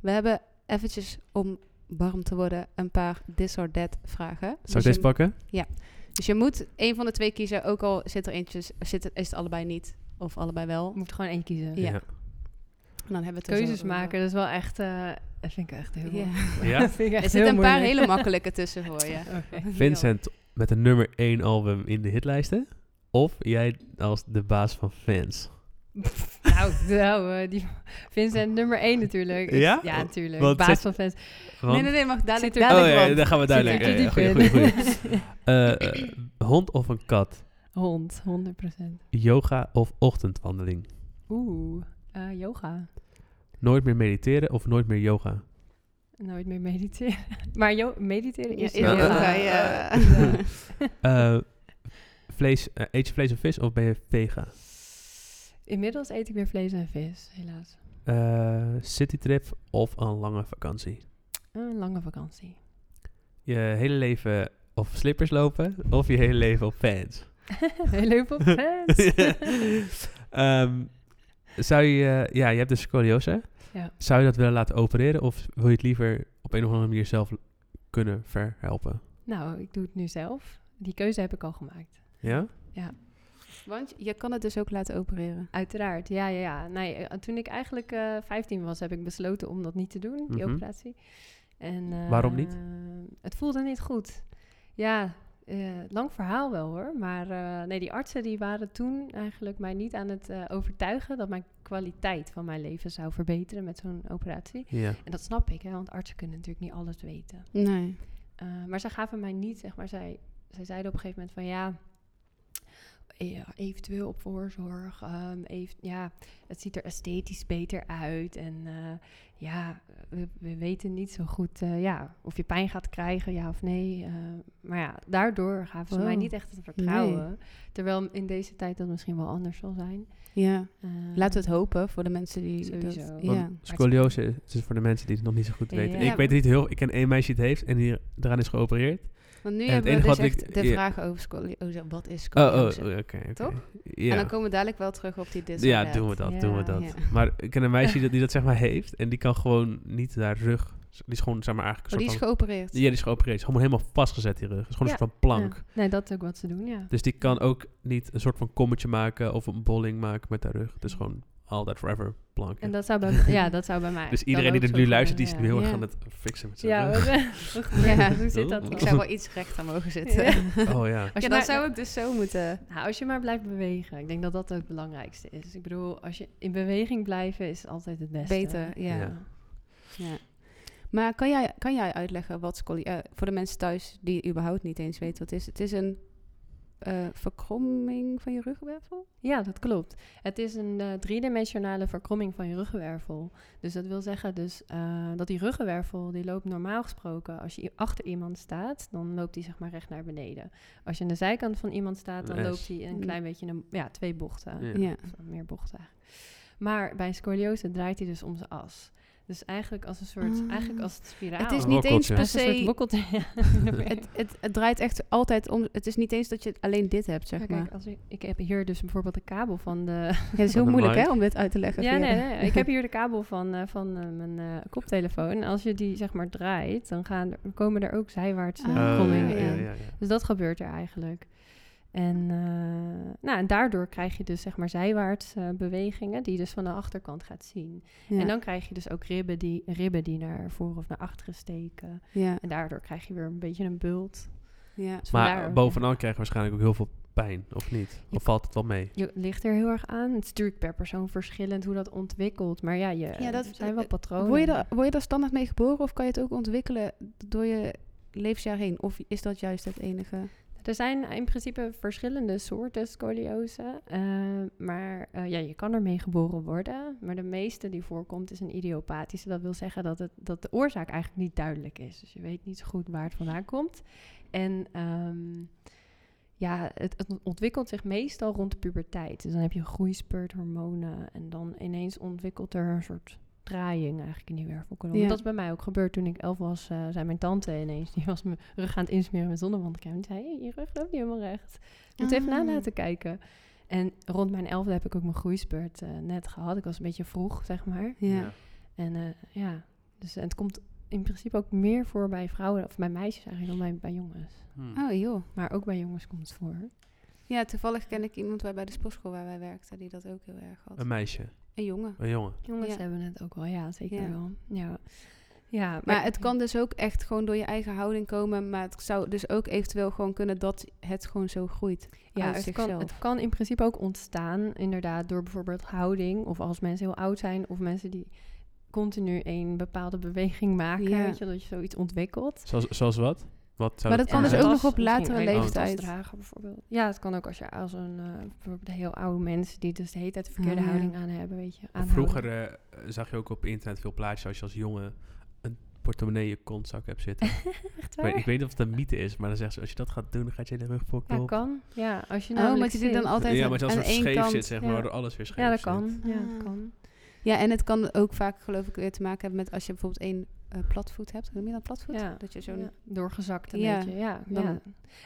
Speaker 2: We hebben eventjes, om warm te worden, een paar this or that vragen.
Speaker 3: Zal
Speaker 2: Dus
Speaker 3: ik deze
Speaker 2: je-
Speaker 3: pakken?
Speaker 2: Dus je moet één van de twee kiezen, ook al zit er eentje, zit, het- is het allebei niet, of allebei wel.
Speaker 1: Je moet gewoon eentje kiezen.
Speaker 2: Ja. En dan hebben we het er zo
Speaker 1: Keuzes
Speaker 2: over.
Speaker 1: maken, dat is wel echt, eh, dat vind ik echt heel
Speaker 2: Ja.
Speaker 3: Ja?
Speaker 1: vind ik echt
Speaker 2: Er zitten een
Speaker 1: heel
Speaker 2: paar
Speaker 1: moeilijk.
Speaker 2: hele makkelijke tussen voor je.
Speaker 1: Oké.
Speaker 3: Vincent met een nummer 1 album in de hitlijsten. Of jij als de baas van fans.
Speaker 1: Nou, nou eh, die Vincent nummer 1 natuurlijk. Ik-
Speaker 3: Ja?
Speaker 1: Ja, natuurlijk.
Speaker 3: Want
Speaker 1: Baas
Speaker 3: zit-
Speaker 1: van fans.
Speaker 3: Want-
Speaker 2: Nee, nee, nee, mag dadelijk,
Speaker 1: Zit er-
Speaker 2: dadelijk
Speaker 3: oh ja,
Speaker 2: want-
Speaker 3: daar gaan we duidelijk.
Speaker 1: Zit er
Speaker 3: Ja, ja,
Speaker 1: te diep
Speaker 3: goeie,
Speaker 1: in.
Speaker 3: goeie, goeie. Eh, eh, hond of een kat?
Speaker 1: Hond, 100%.
Speaker 3: Yoga of ochtendwandeling?
Speaker 1: Oeh, eh, yoga.
Speaker 3: Nooit meer mediteren of nooit meer yoga?
Speaker 1: Nooit meer mediteren. Maar jo- mediteren is
Speaker 2: Ja,
Speaker 3: Ja,
Speaker 2: ja,
Speaker 3: ja.
Speaker 2: ja,
Speaker 1: yoga.
Speaker 2: ja.
Speaker 3: Eh, vlees, eh, eet je vlees of vis of ben je vega?
Speaker 1: Inmiddels eet ik weer vlees en vis, helaas.
Speaker 3: Eh, citytrip of een lange vakantie?
Speaker 1: Een lange vakantie.
Speaker 3: Je hele leven op slippers lopen of je hele leven op fans?
Speaker 1: Heel leuk op fans.
Speaker 3: Ehm, zou je, eh, ja, je hebt dus scoliose.
Speaker 1: Ja.
Speaker 3: Zou je dat willen laten opereren of wil je het liever op een of andere manier zelf kunnen verhelpen?
Speaker 1: Nou, ik doe het nu zelf. Die keuze heb ik al gemaakt.
Speaker 3: Ja?
Speaker 1: Ja.
Speaker 2: Want je kan het dus ook laten opereren.
Speaker 1: Uiteraard, ja, ja, ja. Nee, eh, toen ik eigenlijk eh 15 was, heb ik besloten om dat niet te doen, die
Speaker 3: Mhm.
Speaker 1: operatie. En, eh,
Speaker 3: Waarom niet?
Speaker 1: Het voelde niet goed. Ja, eh, lang verhaal wel hoor. Maar eh, nee, die artsen die waren toen eigenlijk mij niet aan het eh, overtuigen dat mijn kwaliteit van mijn leven zou verbeteren met zo'n operatie.
Speaker 3: Ja.
Speaker 1: En dat snap ik, hè, want artsen kunnen natuurlijk niet alles weten.
Speaker 2: Nee.
Speaker 1: Eh, maar zij gaven mij niet, zeg maar, zij, zij zeiden op een gegeven moment van ja, eh, ja, eventueel op voorzorg, ehm, even, ja, het ziet er esthetisch beter uit en eh, ja, we, we weten niet zo goed eh, ja, of je pijn gaat krijgen, ja of nee. eh, maar ja, daardoor gaven ze mij
Speaker 2: Oh,
Speaker 1: niet echt het vertrouwen, terwijl in deze tijd dat misschien wel anders zal zijn.
Speaker 2: Ja.
Speaker 1: Eh,
Speaker 2: Laten we het hopen voor de mensen die...
Speaker 1: Sowieso.
Speaker 2: Dat,
Speaker 3: Want
Speaker 2: ja.
Speaker 3: scoliose het is dus voor de mensen die het nog niet zo goed
Speaker 1: Ja.
Speaker 3: weten. Ik weet het niet heel... Ik ken één meisje die het heeft en die eraan is geopereerd.
Speaker 2: Want nu
Speaker 3: het
Speaker 2: hebben we
Speaker 3: enige
Speaker 2: dus
Speaker 3: wat
Speaker 2: echt
Speaker 3: ik-
Speaker 2: de
Speaker 3: ja.
Speaker 2: vragen over scoliose. Wat is
Speaker 3: Oh, oh,
Speaker 2: scoliose?
Speaker 3: oké. oké.
Speaker 2: Toch?
Speaker 3: Ja.
Speaker 2: En dan komen we dadelijk wel terug op die disc.
Speaker 3: Ja, doen we dat, doen we
Speaker 1: Ja.
Speaker 3: dat.
Speaker 2: Ja.
Speaker 3: Maar ik ken een meisje die, die dat zeg maar heeft en die kan gewoon niet haar rug... Die is gewoon zeg maar eigenlijk
Speaker 2: Oh,
Speaker 3: een
Speaker 2: die is
Speaker 3: soort
Speaker 2: geopereerd.
Speaker 3: van... Ja, die is geopereerd. Is Gewoon helemaal vastgezet die rug. Het is gewoon een
Speaker 1: Ja,
Speaker 3: soort van plank.
Speaker 1: ja. Nee, dat is ook wat ze doen, ja.
Speaker 3: Dus die kan ook niet een soort van kommetje maken of een bolling maken met haar rug. Het is gewoon all that forever plank.
Speaker 1: En dat zou bij, ja, dat zou bij mij.
Speaker 3: dus
Speaker 1: dan
Speaker 3: iedereen die
Speaker 1: ook
Speaker 3: dit
Speaker 1: zo
Speaker 3: nu
Speaker 1: gebeuren,
Speaker 3: luistert, die is
Speaker 1: ja.
Speaker 3: nu heel Oh. erg
Speaker 2: Ja.
Speaker 3: aan het fixen met zijn
Speaker 1: Ja,
Speaker 3: rug.
Speaker 1: wat- wat-
Speaker 2: Ja.
Speaker 1: hoe zit dat dan?
Speaker 2: Ik zou wel iets rechter mogen zitten.
Speaker 1: Ja. nou,
Speaker 3: Oh ja.
Speaker 1: Als
Speaker 2: Ja,
Speaker 1: je
Speaker 2: dan
Speaker 1: maar-
Speaker 2: zou ik dus zo moeten.
Speaker 1: Nou, als je maar blijft bewegen. Ik denk dat dat ook het belangrijkste is. Ik bedoel, als je in beweging blijven is altijd het beste.
Speaker 2: Beter, ja.
Speaker 3: Ja.
Speaker 2: Ja. Maar kan jij, kan jij uitleggen wat scoli... eh, voor de mensen thuis die überhaupt niet eens weten wat het is. Het is een eh, verkromming van je ruggenwervel?
Speaker 1: Ja, dat klopt. Het is een eh, driedimensionale verkromming van je ruggenwervel. Dus dat wil zeggen dus, eh, dat die ruggenwervel, die loopt normaal gesproken... als je i- achter iemand staat, dan loopt die zeg maar recht naar beneden. Als je aan de zijkant van iemand staat, dan
Speaker 3: Een S.
Speaker 1: loopt die een
Speaker 2: Mm.
Speaker 1: klein beetje... Een, ja, twee bochten.
Speaker 3: Ja.
Speaker 2: Ja.
Speaker 1: Of meer bochten eigenlijk. Maar bij scoliose draait hij dus om zijn as. Dus eigenlijk als een soort,
Speaker 2: Ah.
Speaker 1: eigenlijk als het spiraal.
Speaker 2: Het is
Speaker 3: Een
Speaker 2: niet eens
Speaker 3: wokkeltje.
Speaker 2: per
Speaker 1: Als een soort
Speaker 2: se...
Speaker 1: wokkeltje. Ja.
Speaker 2: Het, het, het draait echt altijd om... Het is niet eens dat je alleen dit hebt, zeg
Speaker 1: Ja,
Speaker 2: maar.
Speaker 1: kijk, als ik, ik heb hier dus bijvoorbeeld de kabel van de.
Speaker 2: Ja, het is heel
Speaker 3: Van de
Speaker 2: moeilijk
Speaker 3: mic.
Speaker 2: hè, om dit uit te leggen.
Speaker 1: Ja,
Speaker 2: via
Speaker 1: nee,
Speaker 2: de-
Speaker 1: nee. Ik heb hier de kabel van, eh, van eh, mijn eh, koptelefoon. En als je die zeg maar draait, dan gaan, er- komen er ook zijwaarts eh,
Speaker 2: Ah.
Speaker 3: Oh,
Speaker 1: krommingen
Speaker 3: ja, ja,
Speaker 1: in.
Speaker 3: ja, ja.
Speaker 1: Dus dat gebeurt er eigenlijk. En, eh, nou, en daardoor krijg je dus zeg maar zijwaarts eh, bewegingen die je dus van de achterkant gaat zien.
Speaker 2: Ja.
Speaker 1: En dan krijg je dus ook ribben die, ribben die naar voren of naar achteren steken.
Speaker 2: ja,
Speaker 1: En daardoor krijg je weer een beetje een bult.
Speaker 2: ja.
Speaker 1: Dus
Speaker 3: Maar
Speaker 1: vandaar ook, ja.
Speaker 3: bovenaan krijgen we waarschijnlijk ook heel veel pijn, of niet? Of valt het wel mee?
Speaker 1: Je ligt er heel erg aan. Het is natuurlijk per persoon verschillend hoe dat ontwikkelt. Maar ja, je,
Speaker 2: Ja,
Speaker 1: ja,
Speaker 2: dat-
Speaker 1: dat zijn wel patronen.
Speaker 2: Word je, daar, word je daar standaard mee geboren of kan je het ook ontwikkelen door je levensjaar heen? Of is dat juist het enige?
Speaker 1: Er zijn in principe verschillende soorten scoliose. eh, maar eh, ja, je kan ermee geboren worden. Maar de meeste die voorkomt is een idiopathische. Dat wil zeggen dat, het, dat de oorzaak eigenlijk niet duidelijk is. Dus je weet niet zo goed waar het vandaan komt. En ehm, ja, het, het ontwikkelt zich meestal rond de puberteit. Dus dan heb je een groeispurt, hormonen. En dan ineens ontwikkelt er een soort draaiing eigenlijk in die wervelkolom.
Speaker 2: Ja.
Speaker 1: Dat is bij mij ook gebeurd toen ik elf was. eh zei mijn tante ineens, die was mijn rug aan het insmeren met zonnebrandcrème. Die zei, "Hey, je rug loopt niet helemaal recht. Moet even na
Speaker 2: Ah.
Speaker 1: laten kijken. En rond mijn elfde heb ik ook mijn groeispurt eh, net gehad. Ik was een beetje vroeg, zeg maar.
Speaker 2: Ja.
Speaker 1: En eh, ja, dus en het komt in principe ook meer voor bij vrouwen, of bij meisjes eigenlijk, dan bij, bij jongens.
Speaker 3: Hmm.
Speaker 2: Oh joh.
Speaker 1: Maar ook bij jongens komt het voor.
Speaker 2: Ja, toevallig ken ik iemand waar bij de sportschool waar wij werkten die dat ook heel erg had.
Speaker 3: Een meisje,
Speaker 2: Een jongen.
Speaker 3: een jongen.
Speaker 1: Jongens
Speaker 2: Ja.
Speaker 1: hebben het ook wel, ja, zeker
Speaker 2: Ja.
Speaker 1: wel. Ja. Ja,
Speaker 2: Maar het kan dus ook echt gewoon door je eigen houding komen. Maar het zou dus ook eventueel gewoon kunnen dat het gewoon zo groeit.
Speaker 1: ja,
Speaker 2: uit
Speaker 1: het kan,
Speaker 2: zichzelf.
Speaker 1: het kan in principe ook ontstaan, inderdaad, door bijvoorbeeld houding. Of als mensen heel oud zijn, of mensen die continu een bepaalde beweging maken.
Speaker 2: Ja.
Speaker 1: Weet je, dat je zoiets ontwikkelt.
Speaker 3: Zoals, zoals wat? wat zou
Speaker 2: Maar dat kan
Speaker 1: Ja,
Speaker 2: dus
Speaker 1: een
Speaker 2: ook
Speaker 1: tas,
Speaker 2: nog op
Speaker 1: misschien
Speaker 2: latere
Speaker 1: een
Speaker 2: leeftijd.
Speaker 1: tasdrager bijvoorbeeld. Ja, het kan ook als je als een eh, bijvoorbeeld heel oude mensen die dus de hele tijd de verkeerde
Speaker 2: Ah, ja.
Speaker 1: houding aan hebben, weet je. aanhouden.
Speaker 3: Vroeger eh, zag je ook op internet veel plaatjes als je als jongen een portemonnee in je kontzak hebt zitten.
Speaker 1: Echt
Speaker 3: Ik
Speaker 1: waar?
Speaker 3: weet, eh, ik weet niet of het een mythe is, maar dan zeggen ze als je dat gaat doen, dan gaat je de rug vol
Speaker 1: Ja,
Speaker 3: kloppen.
Speaker 1: kan. Ja, als je
Speaker 2: Oh,
Speaker 1: namelijk
Speaker 2: omdat je die dan
Speaker 1: zit.
Speaker 2: altijd
Speaker 3: ja, maar als
Speaker 2: aan
Speaker 3: het
Speaker 2: één
Speaker 3: scheef
Speaker 2: kant...
Speaker 3: zit, zeg maar,
Speaker 1: ja.
Speaker 3: waardoor alles weer scheef
Speaker 1: Ja, dat
Speaker 3: zit.
Speaker 1: kan. Ja,
Speaker 2: Ah.
Speaker 1: dat kan.
Speaker 2: Ja, en het kan ook vaak geloof ik weer te maken hebben met als je bijvoorbeeld één eh, eh, platvoet hebt. Noem je dat platvoet?
Speaker 1: Ja.
Speaker 2: Dat je zo'n...
Speaker 1: Ja, doorgezakt een
Speaker 2: Ja,
Speaker 1: beetje. Ja,
Speaker 2: dan-
Speaker 1: ja.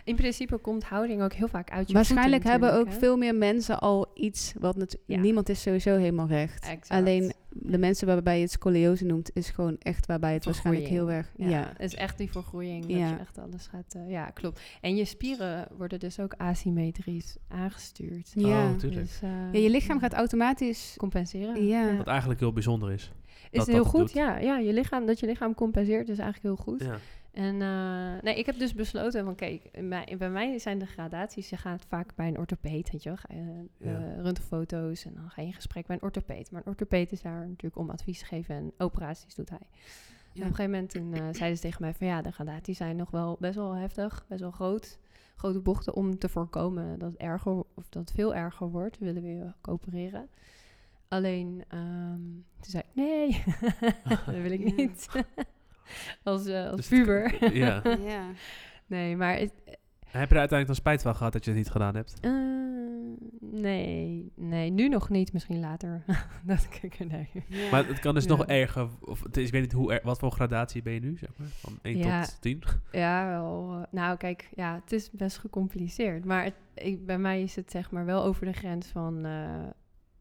Speaker 1: In principe komt houding ook heel vaak uit je
Speaker 2: Waarschijnlijk
Speaker 1: voeten
Speaker 2: hebben ook
Speaker 1: natuurlijk, hè?
Speaker 2: veel meer mensen al iets wat natu-
Speaker 1: Ja.
Speaker 2: niemand is sowieso helemaal recht.
Speaker 1: Exact.
Speaker 2: Alleen de mensen waarbij je het scoliose noemt, is gewoon echt waarbij het waarschijnlijk heel
Speaker 1: Vergroeiing.
Speaker 2: erg. Ja.
Speaker 1: Ja, het is echt die vergroeiing
Speaker 2: Ja.
Speaker 1: dat je echt alles gaat... eh, ja, klopt. En je spieren worden dus ook asymmetrisch aangestuurd.
Speaker 2: Ja.
Speaker 3: Oh, tuurlijk.
Speaker 1: Dus, eh,
Speaker 2: Ja, je lichaam gaat automatisch.
Speaker 1: compenseren.
Speaker 2: Ja.
Speaker 3: Wat eigenlijk heel bijzonder is.
Speaker 1: Is
Speaker 3: dat
Speaker 1: het heel
Speaker 3: dat
Speaker 1: goed?
Speaker 3: doet.
Speaker 1: Ja, ja je lichaam, dat je lichaam compenseert is eigenlijk heel goed.
Speaker 3: Ja.
Speaker 1: En eh, nee, ik heb dus besloten van kijk, in mij- bij mij zijn de gradaties. Je gaat vaak bij een orthopeet, weet je wel, ga je, eh,
Speaker 3: Ja.
Speaker 1: röntgenfoto's en dan ga je in gesprek bij een orthopeet. Maar een orthopeet is daar natuurlijk om advies te geven en operaties doet hij. En op een gegeven moment toen, eh, zeiden ze tegen mij van ja, de gradaties zijn nog wel best wel heftig, best wel groot. Grote bochten om te voorkomen dat het erger of dat het veel erger wordt, willen we je coöpereren. Alleen ehm, toen zei ik nee, dat wil ik
Speaker 2: Ja.
Speaker 1: niet. als eh, als
Speaker 3: Dus het-
Speaker 1: puber.
Speaker 3: ja.
Speaker 2: Ja.
Speaker 1: Nee, maar het,
Speaker 3: En Heb je er uiteindelijk dan spijt van gehad dat je het niet gedaan hebt?
Speaker 1: eh, nee, nee, nu nog niet, misschien later. dat kijk er naar.
Speaker 3: Maar het kan dus
Speaker 1: Ja.
Speaker 3: nog erger. Of, het is, ik weet niet hoe er, wat voor gradatie ben je nu, zeg maar? Van 1
Speaker 1: Ja.
Speaker 3: tot Oh, 10?
Speaker 1: Ja, wel. eh, nou, kijk, ja, het is best gecompliceerd. Maar het, ik, bij mij is het zeg maar wel over de grens van. eh,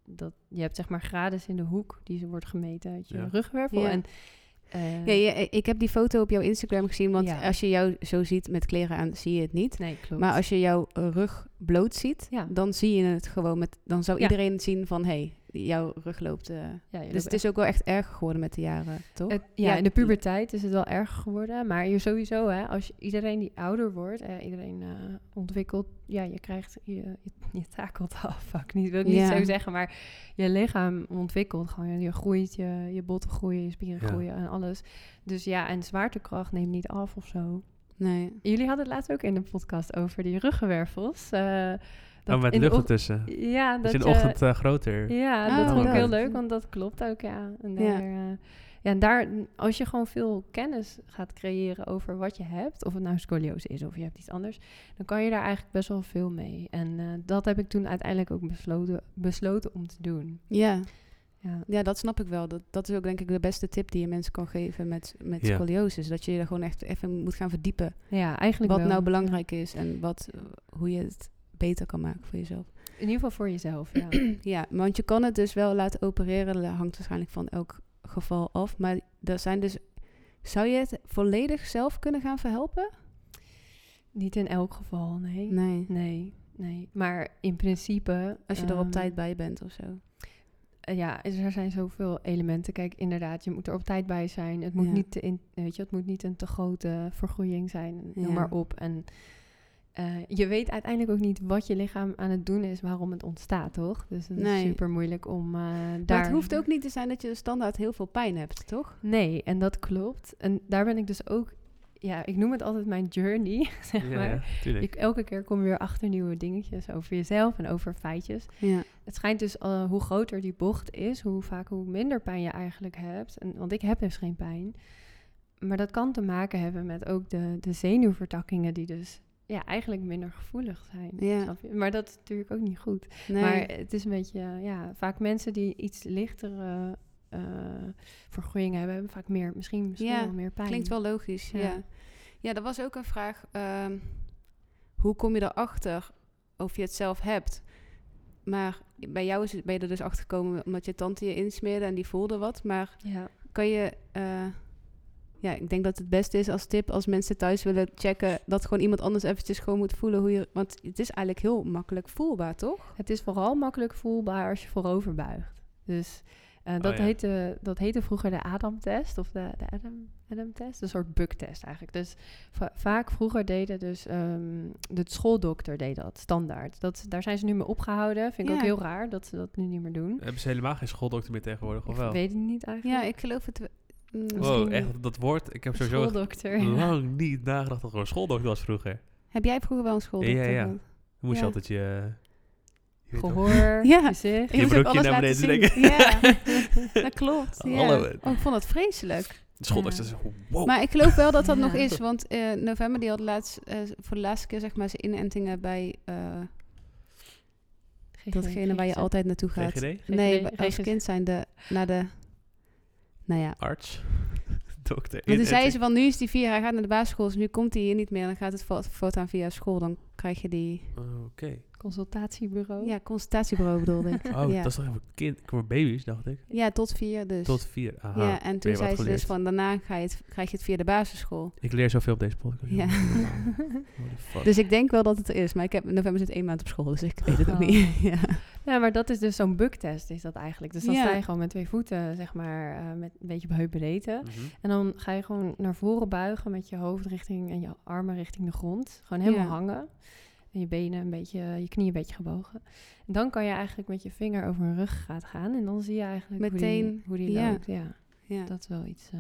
Speaker 1: dat, je hebt zeg maar graden in de hoek die ze wordt gemeten uit je
Speaker 3: Ja.
Speaker 1: rugwervel.
Speaker 2: Ja.
Speaker 1: En, eh,
Speaker 2: Ja, ja, ik heb die foto op jouw Instagram gezien, want
Speaker 1: Ja.
Speaker 2: als je jou zo ziet met kleren aan, zie je het niet.
Speaker 1: Nee, klopt.
Speaker 2: Maar als je jouw rug bloot ziet,
Speaker 1: Ja.
Speaker 2: dan zie je het gewoon met. Dan zou
Speaker 1: Ja.
Speaker 2: iedereen het zien van hé, hey, jouw rug loopt. eh.
Speaker 1: ja, je loopt
Speaker 2: Dus het is ook wel echt erg geworden met de jaren, toch?
Speaker 1: Het- ja,
Speaker 2: Ja,
Speaker 1: in de
Speaker 2: l-
Speaker 1: puberteit is het wel erg geworden. Maar je sowieso, hè, als je, iedereen die ouder wordt, eh, iedereen eh, ontwikkelt, ja, je krijgt, je, je, je takelt af. Fuck, niet, wil ik
Speaker 2: Ja.
Speaker 1: niet zo zeggen, maar je lichaam ontwikkelt gewoon. Je groeit, je, je botten groeien, je spieren
Speaker 3: Ja.
Speaker 1: groeien en alles. Dus ja, en zwaartekracht neemt niet af of zo.
Speaker 2: nee.
Speaker 1: Jullie hadden het laatst ook in de podcast over die ruggenwervels. eh, dat
Speaker 3: Dan Oh, met
Speaker 1: in de
Speaker 3: lucht
Speaker 1: och-
Speaker 3: ertussen.
Speaker 1: Ja,
Speaker 3: Dat
Speaker 1: dat
Speaker 3: is in de
Speaker 1: je-
Speaker 3: ochtend eh, groter.
Speaker 1: ja,
Speaker 2: Ah,
Speaker 1: dat vond ik heel
Speaker 3: dat.
Speaker 1: leuk, want dat klopt ook, ja. En daar,
Speaker 2: Ja.
Speaker 1: eh, ja. en daar, als je gewoon veel kennis gaat creëren over wat je hebt, of het nou scoliose is of je hebt iets anders, dan kan je daar eigenlijk best wel veel mee. En eh, dat heb ik toen uiteindelijk ook besloten, besloten om te doen.
Speaker 2: Ja.
Speaker 1: Ja,
Speaker 2: ja, dat snap ik wel. Dat, dat is ook denk ik de beste tip die je mensen kan geven met, met
Speaker 3: Ja.
Speaker 2: scoliose. is Dat je je daar gewoon echt even moet gaan verdiepen.
Speaker 1: ja eigenlijk
Speaker 2: Wat
Speaker 1: wel.
Speaker 2: nou belangrijk is en wat, eh, hoe je het beter kan maken voor jezelf.
Speaker 1: In ieder geval voor jezelf, ja.
Speaker 2: Ja, want je kan het dus wel laten opereren. Dat hangt waarschijnlijk van elk geval af. Maar er zijn dus. Zou je het volledig zelf kunnen gaan verhelpen?
Speaker 1: Niet in elk geval, nee. Nee,
Speaker 2: Nee.
Speaker 1: nee. Maar in principe...
Speaker 2: Als je er op
Speaker 1: ehm,
Speaker 2: tijd bij bent of zo.
Speaker 1: Eh, ja, is- er zijn zoveel elementen. Kijk, inderdaad, je moet er op tijd bij zijn. Het moet,
Speaker 2: Ja.
Speaker 1: niet, te in, weet je, het moet niet een te grote vergroeiing zijn. Noem
Speaker 2: Ja.
Speaker 1: maar op. En eh, je weet uiteindelijk ook niet wat je lichaam aan het doen is, waarom het ontstaat, toch? Dus het
Speaker 2: Nee.
Speaker 1: is super moeilijk om eh, daar.
Speaker 2: Maar het hoeft ook niet te zijn dat je standaard heel veel pijn hebt, toch?
Speaker 1: Nee, en dat klopt. En daar ben ik dus ook. Ja, ik noem het altijd mijn journey. Zeg
Speaker 3: Ja,
Speaker 1: maar.
Speaker 3: ja, tuurlijk.
Speaker 1: Ik, elke keer kom je weer achter nieuwe dingetjes over jezelf en over feitjes.
Speaker 2: Ja.
Speaker 1: Het schijnt dus eh, hoe groter die bocht is, hoe vaak hoe minder pijn je eigenlijk hebt. En, want ik heb dus geen pijn. Maar dat kan te maken hebben met ook de, de zenuwvertakkingen die dus ja, eigenlijk minder gevoelig zijn.
Speaker 2: Ja.
Speaker 1: Snap je? Maar dat is natuurlijk ook niet goed.
Speaker 2: Nee.
Speaker 1: Maar het is een beetje, eh, ja, vaak mensen die iets lichtere eh, vergroeien hebben, hebben vaak meer, misschien, misschien
Speaker 2: Ja,
Speaker 1: wel meer pijn.
Speaker 2: Klinkt wel logisch, ja.
Speaker 1: Ja.
Speaker 2: ja. er was ook een vraag. ehm, hoe kom je erachter of je het zelf hebt? Maar bij jou is het, ben je er dus achter gekomen omdat je tante je insmeerde en die voelde wat. Maar
Speaker 1: Ja.
Speaker 2: kan je... eh, ja, ik denk dat het beste is als tip als mensen thuis willen checken... dat gewoon iemand anders eventjes gewoon moet voelen hoe je... Want het is eigenlijk heel makkelijk voelbaar, toch?
Speaker 1: Het is vooral makkelijk voelbaar als je voorover buigt. Dus eh, dat,
Speaker 3: Oh ja.
Speaker 1: heette, dat heette vroeger de Adam-test of de, de Adam, Adam-test, een soort buktest eigenlijk. Dus va- vaak vroeger deden dus ehm, de schooldokter deed dat standaard. Dat, daar zijn ze nu mee opgehouden. Vind ik
Speaker 2: Ja.
Speaker 1: ook heel raar dat ze dat nu niet meer doen.
Speaker 3: Hebben ze helemaal geen schooldokter meer tegenwoordig,
Speaker 1: Ik
Speaker 3: of wel?
Speaker 1: weet het niet
Speaker 2: Ja,
Speaker 1: eigenlijk.
Speaker 2: ik geloof het... we- mm,
Speaker 3: Wow,
Speaker 1: misschien
Speaker 3: echt, dat woord. Ik heb sowieso echt
Speaker 1: schooldokter.
Speaker 3: lang niet nagedacht dat er een schooldokter was vroeger.
Speaker 2: Heb jij vroeger wel een schooldokter
Speaker 3: Ja, ja, ja.
Speaker 2: gehad?
Speaker 3: Dan moest
Speaker 2: Ja.
Speaker 3: je altijd je... je weet toch-
Speaker 1: Gehoor,
Speaker 2: Ja.
Speaker 1: gezicht.
Speaker 2: Ik moest ook
Speaker 3: broekje
Speaker 2: alles
Speaker 3: naar
Speaker 2: laten
Speaker 3: beneden
Speaker 2: zien. Ja, dat klopt. ja.
Speaker 3: Hallo.
Speaker 2: Oh, ik vond dat vreselijk.
Speaker 3: De schooldokter is wow.
Speaker 2: Maar ik geloof wel dat dat
Speaker 1: Ja.
Speaker 2: nog is. Want eh, november die had laatst, eh, voor de laatste keer zeg maar, zijn inentingen bij eh,
Speaker 1: GGD,
Speaker 2: datgene waar je
Speaker 1: GGZ.
Speaker 2: altijd naartoe gaat.
Speaker 3: GGD?
Speaker 2: Nee,
Speaker 1: GGD.
Speaker 2: als kind zijn de, naar de, nou ja,
Speaker 3: Arts? dokter in.
Speaker 2: Want toen
Speaker 3: en
Speaker 2: zei
Speaker 3: ze-
Speaker 2: ze van, nu is die vier, hij gaat naar de basisschool, dus nu komt hij hier niet meer. Dan gaat het vo- voortaan via school, dan krijg je die...
Speaker 3: Oh, Oké.
Speaker 1: Consultatiebureau.
Speaker 2: Ja, consultatiebureau bedoelde ik.
Speaker 3: Oh,
Speaker 2: ja.
Speaker 3: dat is toch even kind, voor baby's, dacht ik.
Speaker 2: ja, tot vier dus.
Speaker 3: Tot vier. Aha.
Speaker 2: ja, en toen
Speaker 3: wat
Speaker 2: zei ze
Speaker 3: geleerd.
Speaker 2: dus van, daarna ga je het, krijg je het via de basisschool.
Speaker 3: Ik leer zoveel op deze podcast.
Speaker 2: Ja.
Speaker 3: Holy fuck.
Speaker 2: Dus ik denk wel dat het er is, maar ik heb in november zit één maand op school, dus ik weet het ook
Speaker 1: Oh.
Speaker 2: niet. ja.
Speaker 1: Ja, maar dat is dus zo'n buktest, is dat eigenlijk. Dus dan
Speaker 2: Ja.
Speaker 1: sta je gewoon met twee voeten, zeg maar, eh, met een beetje
Speaker 2: eh,
Speaker 1: heupbreedte.
Speaker 3: Mhm.
Speaker 1: En dan ga je gewoon naar voren buigen met je hoofd richting en je armen richting de grond. Gewoon helemaal
Speaker 2: Ja.
Speaker 1: hangen. En je benen een beetje, je knieën een beetje gebogen. En dan kan je eigenlijk met je vinger over een ruggengraat gaan. En dan zie je eigenlijk hoe
Speaker 2: Meteen,
Speaker 1: die, hoe die
Speaker 2: ja.
Speaker 1: loopt. Ja,
Speaker 2: Ja.
Speaker 1: dat is wel iets. eh,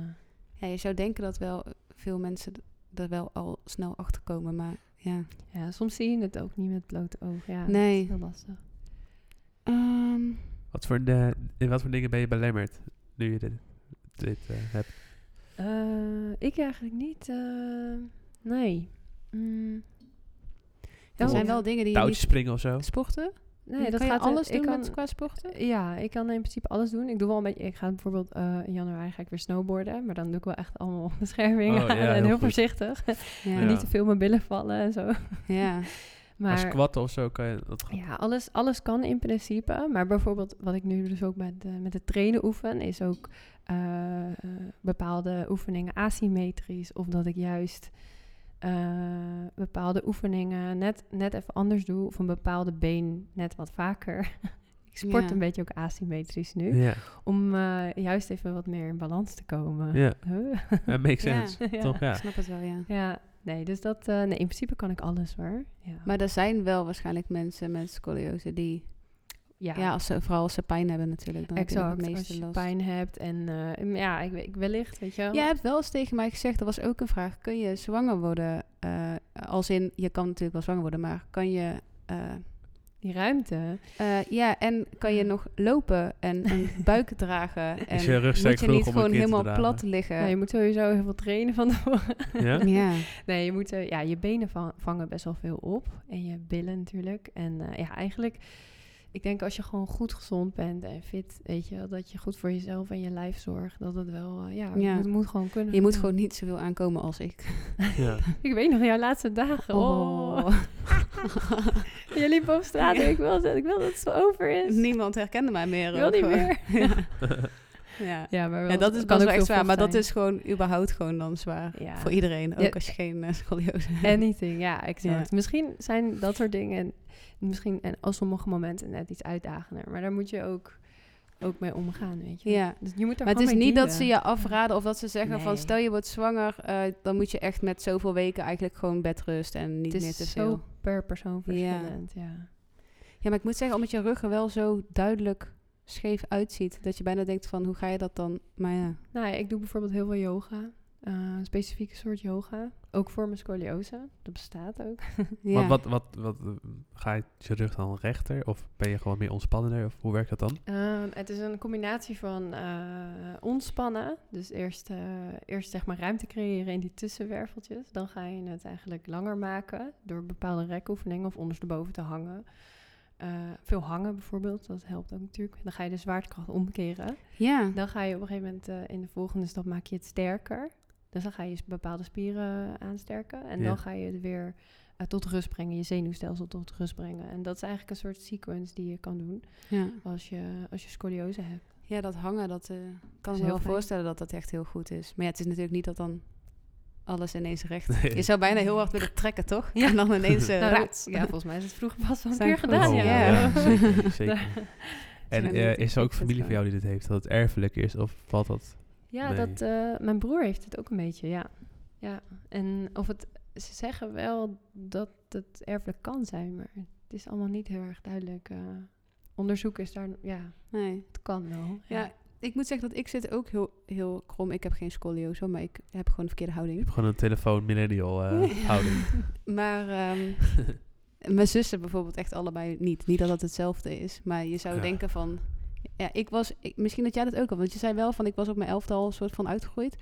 Speaker 2: ja, je zou denken dat wel veel mensen d- er wel al snel achter komen, maar ja.
Speaker 1: ja, soms zie je het ook niet met blote oog. Ja, dat
Speaker 2: Nee.
Speaker 1: is heel lastig.
Speaker 2: Ehm,
Speaker 3: Wat, voor de, in wat voor dingen ben je belemmerd nu je dit, dit eh, hebt?
Speaker 1: Eh, ik eigenlijk niet. eh, nee. Mm.
Speaker 2: er
Speaker 1: Oh,
Speaker 2: zijn
Speaker 1: ja.
Speaker 2: wel dingen die je
Speaker 3: Touwtjes
Speaker 2: niet...
Speaker 3: springen of zo?
Speaker 2: Sporten?
Speaker 1: Nee, dat
Speaker 2: eh, kan
Speaker 1: gaat eh,
Speaker 2: je alles
Speaker 1: ik
Speaker 2: doen
Speaker 1: kan-
Speaker 2: met qua sporten?
Speaker 1: Ja, ik kan in principe alles doen. Ik doe wel een beetje. Ik ga bijvoorbeeld eh, in januari ga ik weer snowboarden, maar dan doe ik wel echt allemaal bescherming
Speaker 3: Oh,
Speaker 1: aan
Speaker 3: ja,
Speaker 1: en
Speaker 3: heel
Speaker 1: heel,
Speaker 3: goed.
Speaker 1: voorzichtig.
Speaker 2: Ja.
Speaker 1: En
Speaker 3: Ja.
Speaker 1: niet te veel mijn billen vallen en zo.
Speaker 2: ja.
Speaker 3: Maar,
Speaker 1: Maar
Speaker 3: squatten of zo kan je... Dat,
Speaker 1: ja, alles, alles kan in principe. Maar bijvoorbeeld wat ik nu dus ook met, eh, met het trainen oefen, is ook eh, eh, bepaalde oefeningen asymmetrisch. Of dat ik juist eh, bepaalde oefeningen net, net even anders doe. Of een bepaalde been net wat vaker. ik sport
Speaker 2: Ja.
Speaker 1: een beetje ook asymmetrisch nu.
Speaker 3: ja,
Speaker 1: Om eh, juist even wat meer in balans te komen.
Speaker 3: ja.
Speaker 1: Huh?
Speaker 3: dat makes
Speaker 2: Oh. Ja.
Speaker 3: sense. Toch,
Speaker 2: Ik
Speaker 3: ja.
Speaker 2: snap het wel, ja.
Speaker 1: Ja, nee, dus dat... eh, nee, in principe kan ik alles hoor. Ja,
Speaker 2: Maar er zijn wel waarschijnlijk mensen met scoliose die...
Speaker 1: ja,
Speaker 2: Ja, als ze, vooral als ze pijn hebben natuurlijk. Dan heb je nog
Speaker 1: exact.
Speaker 2: het
Speaker 1: Als
Speaker 2: meeste
Speaker 1: je
Speaker 2: last.
Speaker 1: pijn hebt en... eh, mm, ja, ik, we- ik wellicht, weet je wel.
Speaker 2: Jij hebt wel eens tegen mij gezegd, dat was ook een vraag. Kun je zwanger worden? Eh, als in, je kan natuurlijk wel zwanger worden, maar kan je... eh,
Speaker 1: Die ruimte.
Speaker 2: eh, ja, en kan
Speaker 1: Hmm.
Speaker 2: je nog lopen en een buik dragen? En
Speaker 3: Is je rug sterk
Speaker 2: moet je
Speaker 3: genoeg
Speaker 2: niet
Speaker 3: om een
Speaker 2: gewoon
Speaker 3: kind te
Speaker 2: helemaal
Speaker 3: dragen?
Speaker 2: plat liggen?
Speaker 1: Nou, je moet sowieso heel veel trainen van tevoren.
Speaker 3: Ja?
Speaker 2: ja.
Speaker 1: Nee, je moet... eh, ja, je benen va- vangen best wel veel op. En je billen natuurlijk. En eh, ja, eigenlijk... Ik denk als je gewoon goed gezond bent en fit, weet je wel, dat je goed voor jezelf en je lijf zorgt, dat het wel, eh, ja,
Speaker 2: Ja.
Speaker 1: Het moet gewoon kunnen.
Speaker 2: je moet
Speaker 1: Ja.
Speaker 2: gewoon niet zoveel aankomen als ik.
Speaker 3: ja.
Speaker 1: Ik weet nog jouw laatste dagen. Oh. Je liep op straat en ik wil, dat- ik wil dat het zo over is.
Speaker 2: Niemand herkende mij meer.
Speaker 1: ik wil
Speaker 2: ook
Speaker 1: niet
Speaker 2: gewoon.
Speaker 1: meer.
Speaker 2: Ja.
Speaker 1: Ja, maar wel,
Speaker 2: Ja, dat is
Speaker 1: kan
Speaker 2: pas
Speaker 1: ook
Speaker 2: wel echt
Speaker 1: heel
Speaker 2: zwaar, maar
Speaker 1: vocht
Speaker 2: dat is gewoon überhaupt gewoon dan zwaar.
Speaker 1: zijn. ja.
Speaker 2: Voor iedereen, ook
Speaker 1: Ja.
Speaker 2: als je geen eh, scoliose hebt.
Speaker 1: Anything, ja, exact. Misschien zijn dat soort dingen, misschien en als sommige momenten net iets uitdagender. Maar daar moet je ook, ook mee omgaan, weet je.
Speaker 2: Ja.
Speaker 1: Dus je moet daar
Speaker 2: Maar het is
Speaker 1: gewoon mee
Speaker 2: niet dat ze
Speaker 1: dealen.
Speaker 2: je afraden of dat ze zeggen van
Speaker 1: Nee.
Speaker 2: stel je wordt zwanger, eh, dan moet je echt met zoveel weken eigenlijk gewoon bedrust en niet
Speaker 1: Het
Speaker 2: meer
Speaker 1: is
Speaker 2: te veel.
Speaker 1: zo per persoon verschillend, ja.
Speaker 2: Ja, maar ik moet zeggen, omdat je rug er wel zo duidelijk scheef uitziet, dat je bijna denkt van hoe ga je dat dan? Maar ja,
Speaker 1: Nou ja, ik doe bijvoorbeeld heel veel yoga. eh, een specifieke soort yoga. Ook voor mijn scoliose. Dat bestaat ook.
Speaker 2: ja.
Speaker 3: Maar wat, wat, wat, eh, ga je je rug dan rechter? Of ben je gewoon meer ontspannender? Of hoe werkt dat dan?
Speaker 1: Ehm, het is een combinatie van eh, ontspannen, dus eerst, eh, eerst zeg maar ruimte creëren in die tussenwerveltjes. Dan ga je het eigenlijk langer maken door bepaalde rekoefeningen of ondersteboven te hangen. Eh, veel hangen bijvoorbeeld, dat helpt ook natuurlijk. Dan ga je de zwaartekracht omkeren.
Speaker 2: ja.
Speaker 1: Dan ga je op een gegeven moment eh, in de volgende stap maak je het sterker. Dus dan ga je s- bepaalde spieren aansterken. En
Speaker 3: Ja.
Speaker 1: dan ga je het weer eh, tot rust brengen, je zenuwstelsel tot rust brengen. En dat is eigenlijk een soort sequence die je kan doen
Speaker 2: ja.
Speaker 1: als je, als je scoliose hebt.
Speaker 2: Ja, dat hangen, dat eh, kan ik
Speaker 1: heel
Speaker 2: me wel
Speaker 1: fijn.
Speaker 2: voorstellen dat dat echt heel goed is. Maar ja, het is natuurlijk niet dat dan alles ineens recht.
Speaker 3: Nee.
Speaker 2: Je zou bijna heel hard willen trekken, toch? Ja. En dan ineens eh,
Speaker 1: Nou,
Speaker 2: raats.
Speaker 1: ja, volgens mij is het vroeger pas wel een
Speaker 2: Zijn
Speaker 1: keer gedaan.
Speaker 3: Oh,
Speaker 2: goed.
Speaker 1: Ja.
Speaker 2: Ja.
Speaker 3: zeker, zeker. En
Speaker 2: Ja,
Speaker 3: eh,
Speaker 2: dat-
Speaker 3: is
Speaker 2: ik
Speaker 3: er ook
Speaker 2: vind
Speaker 3: familie
Speaker 2: het
Speaker 3: van jou die dit heeft? Dat het erfelijk is? Of valt dat...
Speaker 1: Ja,
Speaker 3: Nee.
Speaker 1: dat, eh, mijn broer heeft het ook een beetje, ja. ja. En of het, ze zeggen wel dat het erfelijk kan zijn, maar het is allemaal niet heel erg duidelijk. eh, onderzoek is daar, ja,
Speaker 2: Nee.
Speaker 1: het kan wel.
Speaker 2: Ja, ik moet zeggen dat ik zit ook heel, heel krom. Ik heb geen scoliose, maar ik heb gewoon een verkeerde
Speaker 3: Je
Speaker 2: houding.
Speaker 3: hebt gewoon een telefoon millennial eh, houding.
Speaker 2: Maar ehm, mijn zussen bijvoorbeeld echt allebei niet. Niet dat dat hetzelfde is, maar je zou
Speaker 3: Ja.
Speaker 2: denken van... Ja, ik was... ik- misschien dat jij dat ook al, want je zei wel van ik was op mijn elftal soort van uitgegroeid.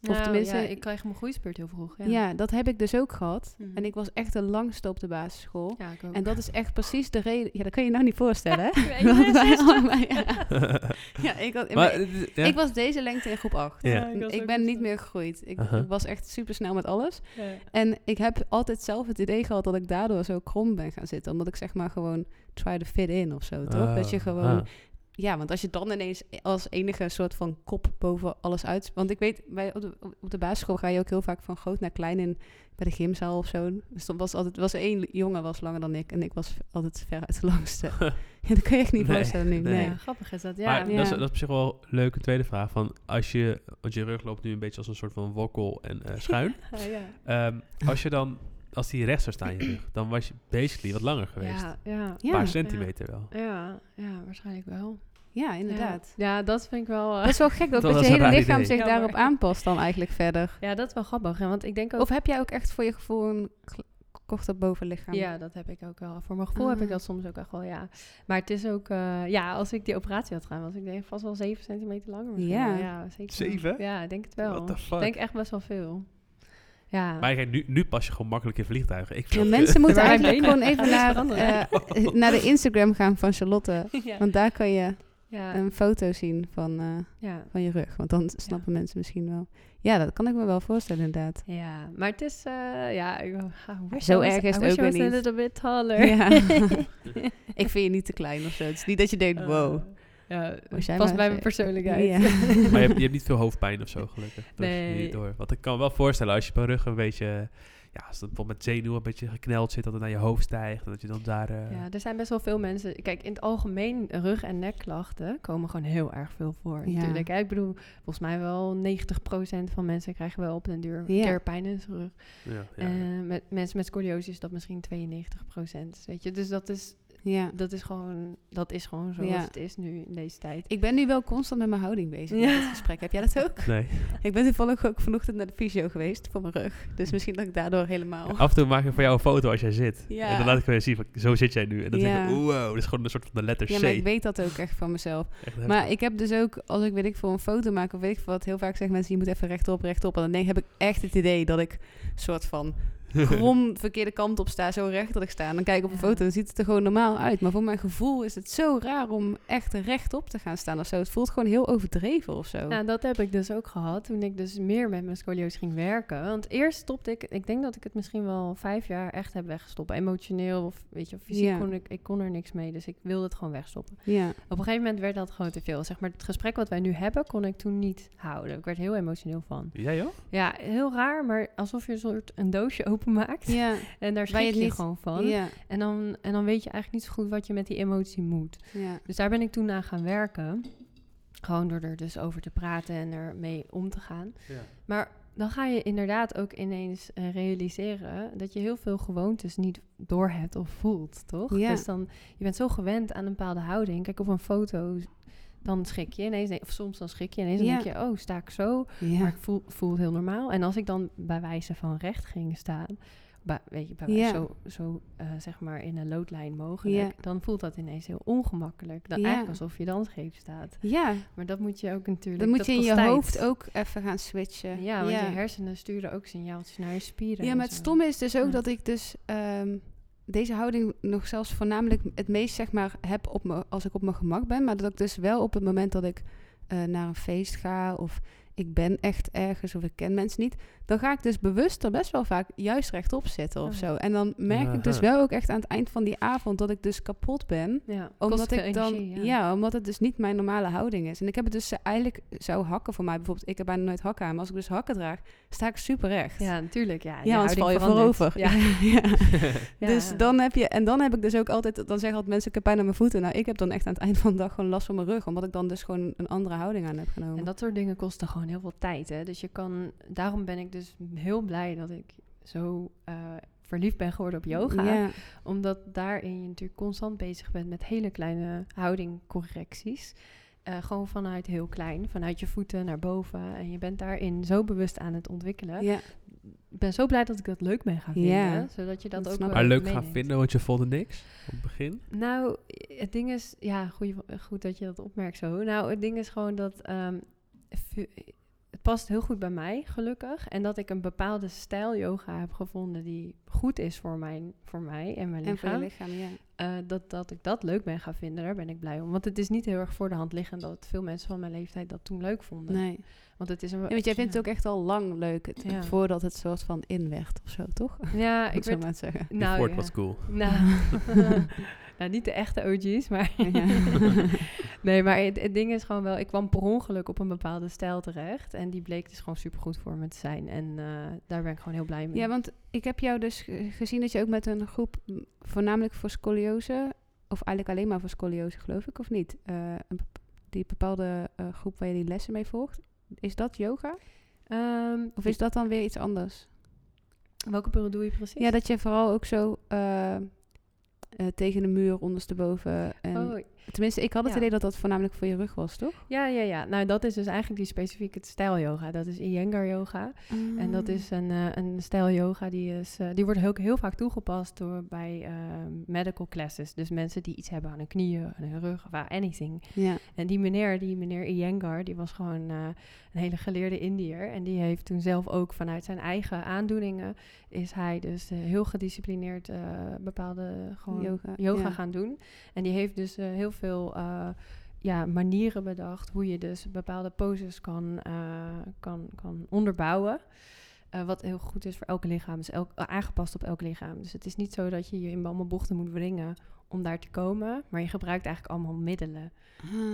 Speaker 1: Nou,
Speaker 2: tenminste-
Speaker 1: ja, ik kreeg mijn groeispurt heel vroeg. Ja,
Speaker 2: Ja. dat heb ik dus ook gehad.
Speaker 1: Mhm.
Speaker 2: En ik was echt de langste op de basisschool.
Speaker 1: Ja, ik ook.
Speaker 2: En dat is echt precies de reden... Ja, dat kan je je nou niet voorstellen, hè?
Speaker 1: Ik
Speaker 2: Want
Speaker 1: weet-
Speaker 2: wij allemaal- ja. ja, ik, had,
Speaker 3: maar,
Speaker 2: maar
Speaker 3: dit is- ja.
Speaker 2: ik was deze lengte in groep 8.
Speaker 3: Ja.
Speaker 1: ik was
Speaker 2: Ik
Speaker 1: ook
Speaker 2: ben niet
Speaker 1: gestopt.
Speaker 2: meer gegroeid. Ik,
Speaker 3: Aha.
Speaker 2: ik was echt super snel met alles.
Speaker 1: Ja.
Speaker 2: En ik heb altijd zelf het idee gehad dat ik daardoor zo krom ben gaan zitten. Omdat ik zeg maar gewoon try to fit in of zo, toch? dat je
Speaker 3: Ah,
Speaker 2: gewoon...
Speaker 3: ah.
Speaker 2: Ja, want als je dan ineens als enige soort van kop boven alles uit... Want ik weet, bij, op, de, op de basisschool ga je ook heel vaak van groot naar klein in... Bij de gymzaal of zo. Dus dan was altijd... was één jongen was langer dan ik. En ik was altijd veruit de langste. Ja, dat kan je echt niet
Speaker 3: Nee,
Speaker 2: voorstellen nu.
Speaker 3: nee.
Speaker 2: Nee.
Speaker 1: Ja, grappig is dat. Ja,
Speaker 3: maar
Speaker 1: ja.
Speaker 3: dat, is,
Speaker 2: ja.
Speaker 3: dat is op zich wel een leuke tweede vraag. Van als je, want je rug loopt nu een beetje als een soort van wokkel en eh, schuin.
Speaker 1: Ah, ja.
Speaker 3: Ehm, als je dan, als die recht zou staan je rug, dan was je basically wat langer geweest.
Speaker 1: Ja, ja.
Speaker 3: Een paar
Speaker 2: Ja,
Speaker 3: centimeter wel.
Speaker 1: Ja, ja, waarschijnlijk wel.
Speaker 2: ja, inderdaad.
Speaker 1: Ja, Ja, dat vind ik wel... eh,
Speaker 2: Dat is wel gek dat,
Speaker 3: Dat
Speaker 2: dat je
Speaker 3: was een
Speaker 2: hele
Speaker 3: raar
Speaker 2: lichaam
Speaker 3: idee.
Speaker 2: zich
Speaker 1: Jammer.
Speaker 2: daarop aanpast dan eigenlijk verder.
Speaker 1: ja, dat is wel grappig. hè, Want ik denk ook...
Speaker 2: Of heb jij ook echt voor je gevoel een kle- korter bovenlichaam?
Speaker 1: Ja, dat heb ik ook wel. Voor mijn gevoel heb ik
Speaker 2: Ah.
Speaker 1: dat soms ook echt wel, ja. Maar het is ook... eh, ja, als ik die operatie had gedaan, was ik denk ik vast wel 7 centimeter langer. misschien
Speaker 2: Ja.
Speaker 1: wel. ja zeker. wel.
Speaker 3: Zeven?
Speaker 1: Ja, ik denk het wel.
Speaker 3: What the
Speaker 1: Ik
Speaker 3: fuck?
Speaker 1: denk echt best wel veel. Ja.
Speaker 3: maar kijk, nu, nu pas je gewoon makkelijk in vliegtuigen. Ik
Speaker 2: Ja,
Speaker 3: vind-
Speaker 2: mensen moeten
Speaker 1: Waar
Speaker 2: eigenlijk
Speaker 1: benen?
Speaker 2: gewoon even
Speaker 1: Alles
Speaker 2: naar,
Speaker 1: veranderen.
Speaker 2: eh,
Speaker 3: Oh.
Speaker 2: naar de Instagram gaan van Charlotte.
Speaker 1: ja.
Speaker 2: Want daar kan je
Speaker 1: Ja,
Speaker 2: een foto zien van, eh,
Speaker 1: ja.
Speaker 2: van je rug. Want dan snappen mensen misschien wel. Ja, dat kan ik me wel voorstellen inderdaad.
Speaker 1: Ja, maar het is... eh, ja, ik- I wish
Speaker 2: Zo
Speaker 1: I was-
Speaker 2: erg is
Speaker 1: I
Speaker 2: het
Speaker 1: wish
Speaker 2: ook
Speaker 1: I was
Speaker 2: weer
Speaker 1: a
Speaker 2: niet.
Speaker 1: little bit taller.
Speaker 2: Ja. ik vind je niet te klein of zo. Het is niet dat je
Speaker 1: Oh,
Speaker 2: denkt, wow.
Speaker 1: Ja,
Speaker 2: Was jij
Speaker 1: past
Speaker 2: maar
Speaker 1: bij
Speaker 2: eens-
Speaker 1: mijn persoonlijkheid.
Speaker 2: Ja.
Speaker 3: Maar je hebt, je hebt niet veel hoofdpijn of zo, gelukkig. Dat nee.
Speaker 1: Nee.
Speaker 3: niet door. Want ik kan me wel voorstellen, als je per rug een beetje... Ja, als het bijvoorbeeld met zenuwen een beetje gekneld zit, dat het naar je hoofd stijgt. En dat je dan daar... eh,
Speaker 1: Ja, er zijn best wel veel mensen. Kijk, in het algemeen rug- en nekklachten komen gewoon heel erg veel voor.
Speaker 2: Ja.
Speaker 1: Natuurlijk. hè. Ik bedoel, volgens mij wel 90% van mensen krijgen wel op den duur een
Speaker 2: Ja.
Speaker 1: keer pijn in zijn rug.
Speaker 3: ja, ja.
Speaker 1: Eh, met mensen met scoliose is dat misschien 92%. Weet je, dus dat is,
Speaker 2: Ja.
Speaker 1: dat is gewoon, dat is gewoon zoals
Speaker 2: Ja.
Speaker 1: het is nu in deze tijd.
Speaker 2: Ik ben nu wel constant met mijn houding bezig
Speaker 1: Ja.
Speaker 2: in dit gesprek. Heb jij dat ook?
Speaker 3: Nee.
Speaker 2: Ik ben toevallig ook vanochtend naar de fysio geweest voor mijn rug. Dus misschien dat ik daardoor helemaal...
Speaker 3: Af en toe maak ik voor jou een foto als jij zit.
Speaker 2: Oh. Ja.
Speaker 3: En dan laat ik gewoon zien, van, zo zit jij nu. En dan
Speaker 2: Ja.
Speaker 3: denk ik, wow, dat is gewoon een soort van de letter
Speaker 2: Ja,
Speaker 3: C.
Speaker 2: maar ik weet dat ook echt van mezelf.
Speaker 3: Echt heftig.
Speaker 2: Maar ik heb dus ook, als ik weet ik voor een foto maak of weet ik veel wat, heel vaak zeggen mensen, je moet even rechtop, rechtop. En dan denk- heb ik echt het idee dat ik soort van krom verkeerde kant op sta, zo recht dat ik sta. En dan kijk ik op een
Speaker 1: Ja.
Speaker 2: foto, dan ziet het er gewoon normaal uit. Maar voor mijn gevoel is het zo raar om echt rechtop te gaan staan of zo. Het voelt gewoon heel overdreven of zo.
Speaker 1: Nou, dat heb ik dus ook gehad toen ik dus meer met mijn scoliose ging werken. Want eerst stopte ik, ik denk dat ik het misschien wel vijf jaar echt heb weggestopt. Emotioneel of weet je, fysiek
Speaker 2: Ja.
Speaker 1: kon ik, ik kon er niks mee, dus ik wilde het gewoon wegstoppen.
Speaker 2: Ja,
Speaker 1: Op een gegeven moment werd dat gewoon te veel. Zeg maar, het gesprek wat wij nu hebben, kon ik toen niet houden. Ik werd heel emotioneel van.
Speaker 3: Ja joh?
Speaker 1: Ja, heel raar, maar alsof je een soort een doosje openmaakt.
Speaker 2: ja,
Speaker 1: En daar
Speaker 2: Waar je
Speaker 1: schrik je
Speaker 2: het niet-
Speaker 1: gewoon van.
Speaker 2: ja,
Speaker 1: En, dan, en dan weet je eigenlijk niet zo goed wat je met die emotie moet.
Speaker 2: ja.
Speaker 1: Dus daar ben ik toen aan gaan werken. Gewoon door er dus over te praten en ermee om te gaan.
Speaker 3: Ja.
Speaker 1: Maar dan ga je inderdaad ook ineens eh, realiseren dat je heel veel gewoontes niet doorhebt of voelt, toch?
Speaker 2: Ja.
Speaker 1: Dus dan, je bent zo gewend aan een bepaalde houding. Kijk, op een foto, dan schrik je ineens. Nee, of soms dan schrik je ineens. Dan
Speaker 2: Ja.
Speaker 1: denk je, oh, sta ik zo? Maar
Speaker 2: ja.
Speaker 1: ik voel, voel het heel normaal. En als ik dan bij wijze van recht ging staan, bij- weet je, bij
Speaker 2: Ja.
Speaker 1: wijze zo, zo eh, zeg maar in een loodlijn mogelijk, dan voelt dat ineens heel ongemakkelijk. Dan
Speaker 2: Ja.
Speaker 1: Eigenlijk alsof je dan scheef staat.
Speaker 2: Ja,
Speaker 1: Maar dat moet je ook natuurlijk.
Speaker 2: dan moet
Speaker 1: dat
Speaker 2: je in
Speaker 1: kost
Speaker 2: je
Speaker 1: tijd.
Speaker 2: hoofd ook even gaan switchen.
Speaker 1: Ja, want je hersenen sturen ook signaaltjes naar je spieren.
Speaker 2: Ja,
Speaker 1: en
Speaker 2: maar het
Speaker 1: zo.
Speaker 2: stomme is dus ook
Speaker 1: Ja.
Speaker 2: dat ik dus ehm, deze houding nog zelfs voornamelijk het meest zeg maar heb op me, als ik op mijn gemak ben. Maar dat ik dus wel op het moment dat ik eh, naar een feest ga of ik ben echt ergens of ik ken mensen niet. Dan ga ik dus bewust er best wel vaak juist rechtop zitten of
Speaker 1: Oh.
Speaker 2: zo. En dan merk ik dus
Speaker 3: Aha.
Speaker 2: wel ook echt aan het eind van die avond dat ik dus kapot ben
Speaker 1: Ja,
Speaker 2: omdat
Speaker 1: kost veel
Speaker 2: ik dan,
Speaker 1: energie,
Speaker 2: ja. omdat het dus niet mijn normale houding is. En ik heb het dus eh, eigenlijk, zou hakken voor mij bijvoorbeeld, ik heb bijna nooit hakken aan, maar als ik dus hakken draag, sta ik super recht.
Speaker 1: Ja, natuurlijk. Ja,
Speaker 2: Ja, anders
Speaker 1: houding
Speaker 2: val je
Speaker 1: verandert.
Speaker 2: voorover.
Speaker 1: Ja.
Speaker 2: Ja.
Speaker 1: Ja.
Speaker 2: Dus dan heb je, en dan heb ik dus ook altijd, dan zeggen altijd mensen, ik heb pijn aan mijn voeten. Nou, ik heb dan echt aan het eind van de dag gewoon last van mijn rug, omdat ik dan dus gewoon een andere houding aan heb genomen.
Speaker 1: En dat soort dingen kosten gewoon heel veel tijd. Hè? Dus je kan, daarom ben ik dus heel blij dat ik zo eh, verliefd ben geworden op yoga.
Speaker 2: Ja,
Speaker 1: Omdat daarin je natuurlijk constant bezig bent met hele kleine houdingcorrecties. Eh, gewoon vanuit heel klein, vanuit je voeten naar boven. En je bent daarin zo bewust aan het ontwikkelen.
Speaker 2: ja,
Speaker 1: Ik ben zo blij dat ik dat leuk ben gaan vinden.
Speaker 2: Ja.
Speaker 1: Zodat je dat,
Speaker 2: Dat
Speaker 1: ook
Speaker 2: snap
Speaker 1: wel
Speaker 2: ik.
Speaker 3: Maar leuk
Speaker 1: meeneemt.
Speaker 3: gaan vinden, want je voelde niks op het begin.
Speaker 1: Nou, het ding is, ja, goeie, goed dat je dat opmerkt zo. Nou, het ding is gewoon dat ehm, vu- het past heel goed bij mij, gelukkig. En dat ik een bepaalde stijl yoga heb gevonden die goed is voor, mijn, voor mij en mijn
Speaker 2: En voor je
Speaker 1: lichaam.
Speaker 2: lichaam, ja.
Speaker 1: Eh, dat, dat ik dat leuk ben gaan vinden, daar ben ik blij om. Want het is niet heel erg voor de hand liggend dat veel mensen van mijn leeftijd dat toen leuk vonden.
Speaker 2: Nee.
Speaker 1: Want het is een.
Speaker 2: Ja, want jij vindt het ook echt al lang leuk, het,
Speaker 1: Ja.
Speaker 2: voordat het soort van in werd of zo, toch? Moet
Speaker 1: Ja, ik
Speaker 2: ik zo
Speaker 1: werd.
Speaker 2: maar zeggen.
Speaker 3: Die
Speaker 1: Nou,
Speaker 3: Ford
Speaker 1: ja.
Speaker 3: was cool.
Speaker 1: Nou, nou, niet de echte OG's, maar.
Speaker 2: Ja.
Speaker 1: nee, maar het, het ding is gewoon wel, ik kwam per ongeluk op een bepaalde stijl terecht. En die bleek dus gewoon supergoed voor me te zijn. En eh, daar ben ik gewoon heel blij mee.
Speaker 2: ja, want ik heb jou dus ge- gezien dat je ook met een groep, m, voornamelijk voor scoliose, of eigenlijk alleen maar voor scoliose geloof ik, of niet? Eh, een bep- die bepaalde eh, groep waar je die lessen mee volgt. Is dat yoga?
Speaker 1: Ehm,
Speaker 2: Of is dat dan weer iets anders?
Speaker 1: welke periode doe je precies?
Speaker 2: Ja, dat je vooral ook zo eh, eh, tegen de muur ondersteboven. En,
Speaker 1: Oh,
Speaker 2: Tenminste, ik had het
Speaker 1: Ja.
Speaker 2: idee dat dat voornamelijk voor je rug was, toch?
Speaker 1: ja, ja, ja. Nou, dat is dus eigenlijk die specifieke stijl yoga. Dat is Iyengar yoga. En
Speaker 2: Mm.
Speaker 1: dat is een, eh, een stijl yoga die, is, eh, die wordt ook heel vaak toegepast door, bij eh, medical classes. Dus mensen die iets hebben aan hun knieën, aan hun rug, of aan anything.
Speaker 2: Ja.
Speaker 1: En die meneer, die meneer Iyengar, die was gewoon eh, een hele geleerde Indiër. En die heeft toen zelf ook vanuit zijn eigen aandoeningen... is hij dus eh, heel gedisciplineerd eh, bepaalde gewoon
Speaker 2: Yoga,
Speaker 1: yoga,
Speaker 2: ja.
Speaker 1: gaan doen. En die heeft dus eh, heel veel eh, ja, manieren bedacht... hoe je dus bepaalde poses kan, eh, kan, kan onderbouwen. Eh, wat heel goed is voor elk lichaam. Dus elk, aangepast op elk lichaam. Dus het is niet zo dat je je in allemaal bochten moet wringen... om daar te komen. Maar je gebruikt eigenlijk allemaal middelen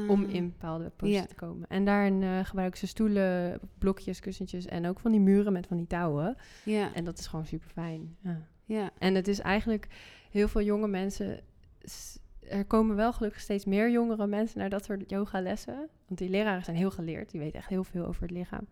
Speaker 1: om in bepaalde positie
Speaker 2: Mm. Ja.
Speaker 1: te komen. En daarin eh gebruiken ze stoelen, blokjes, kussentjes en ook van die muren met van die touwen.
Speaker 2: Ja,
Speaker 1: En dat is gewoon super fijn. Ja.
Speaker 2: ja.
Speaker 1: En het is eigenlijk heel veel jonge mensen. s- Er komen wel gelukkig steeds meer jongere mensen naar dat soort yogalessen. Want die leraren zijn heel geleerd. Die weten echt heel veel over het lichaam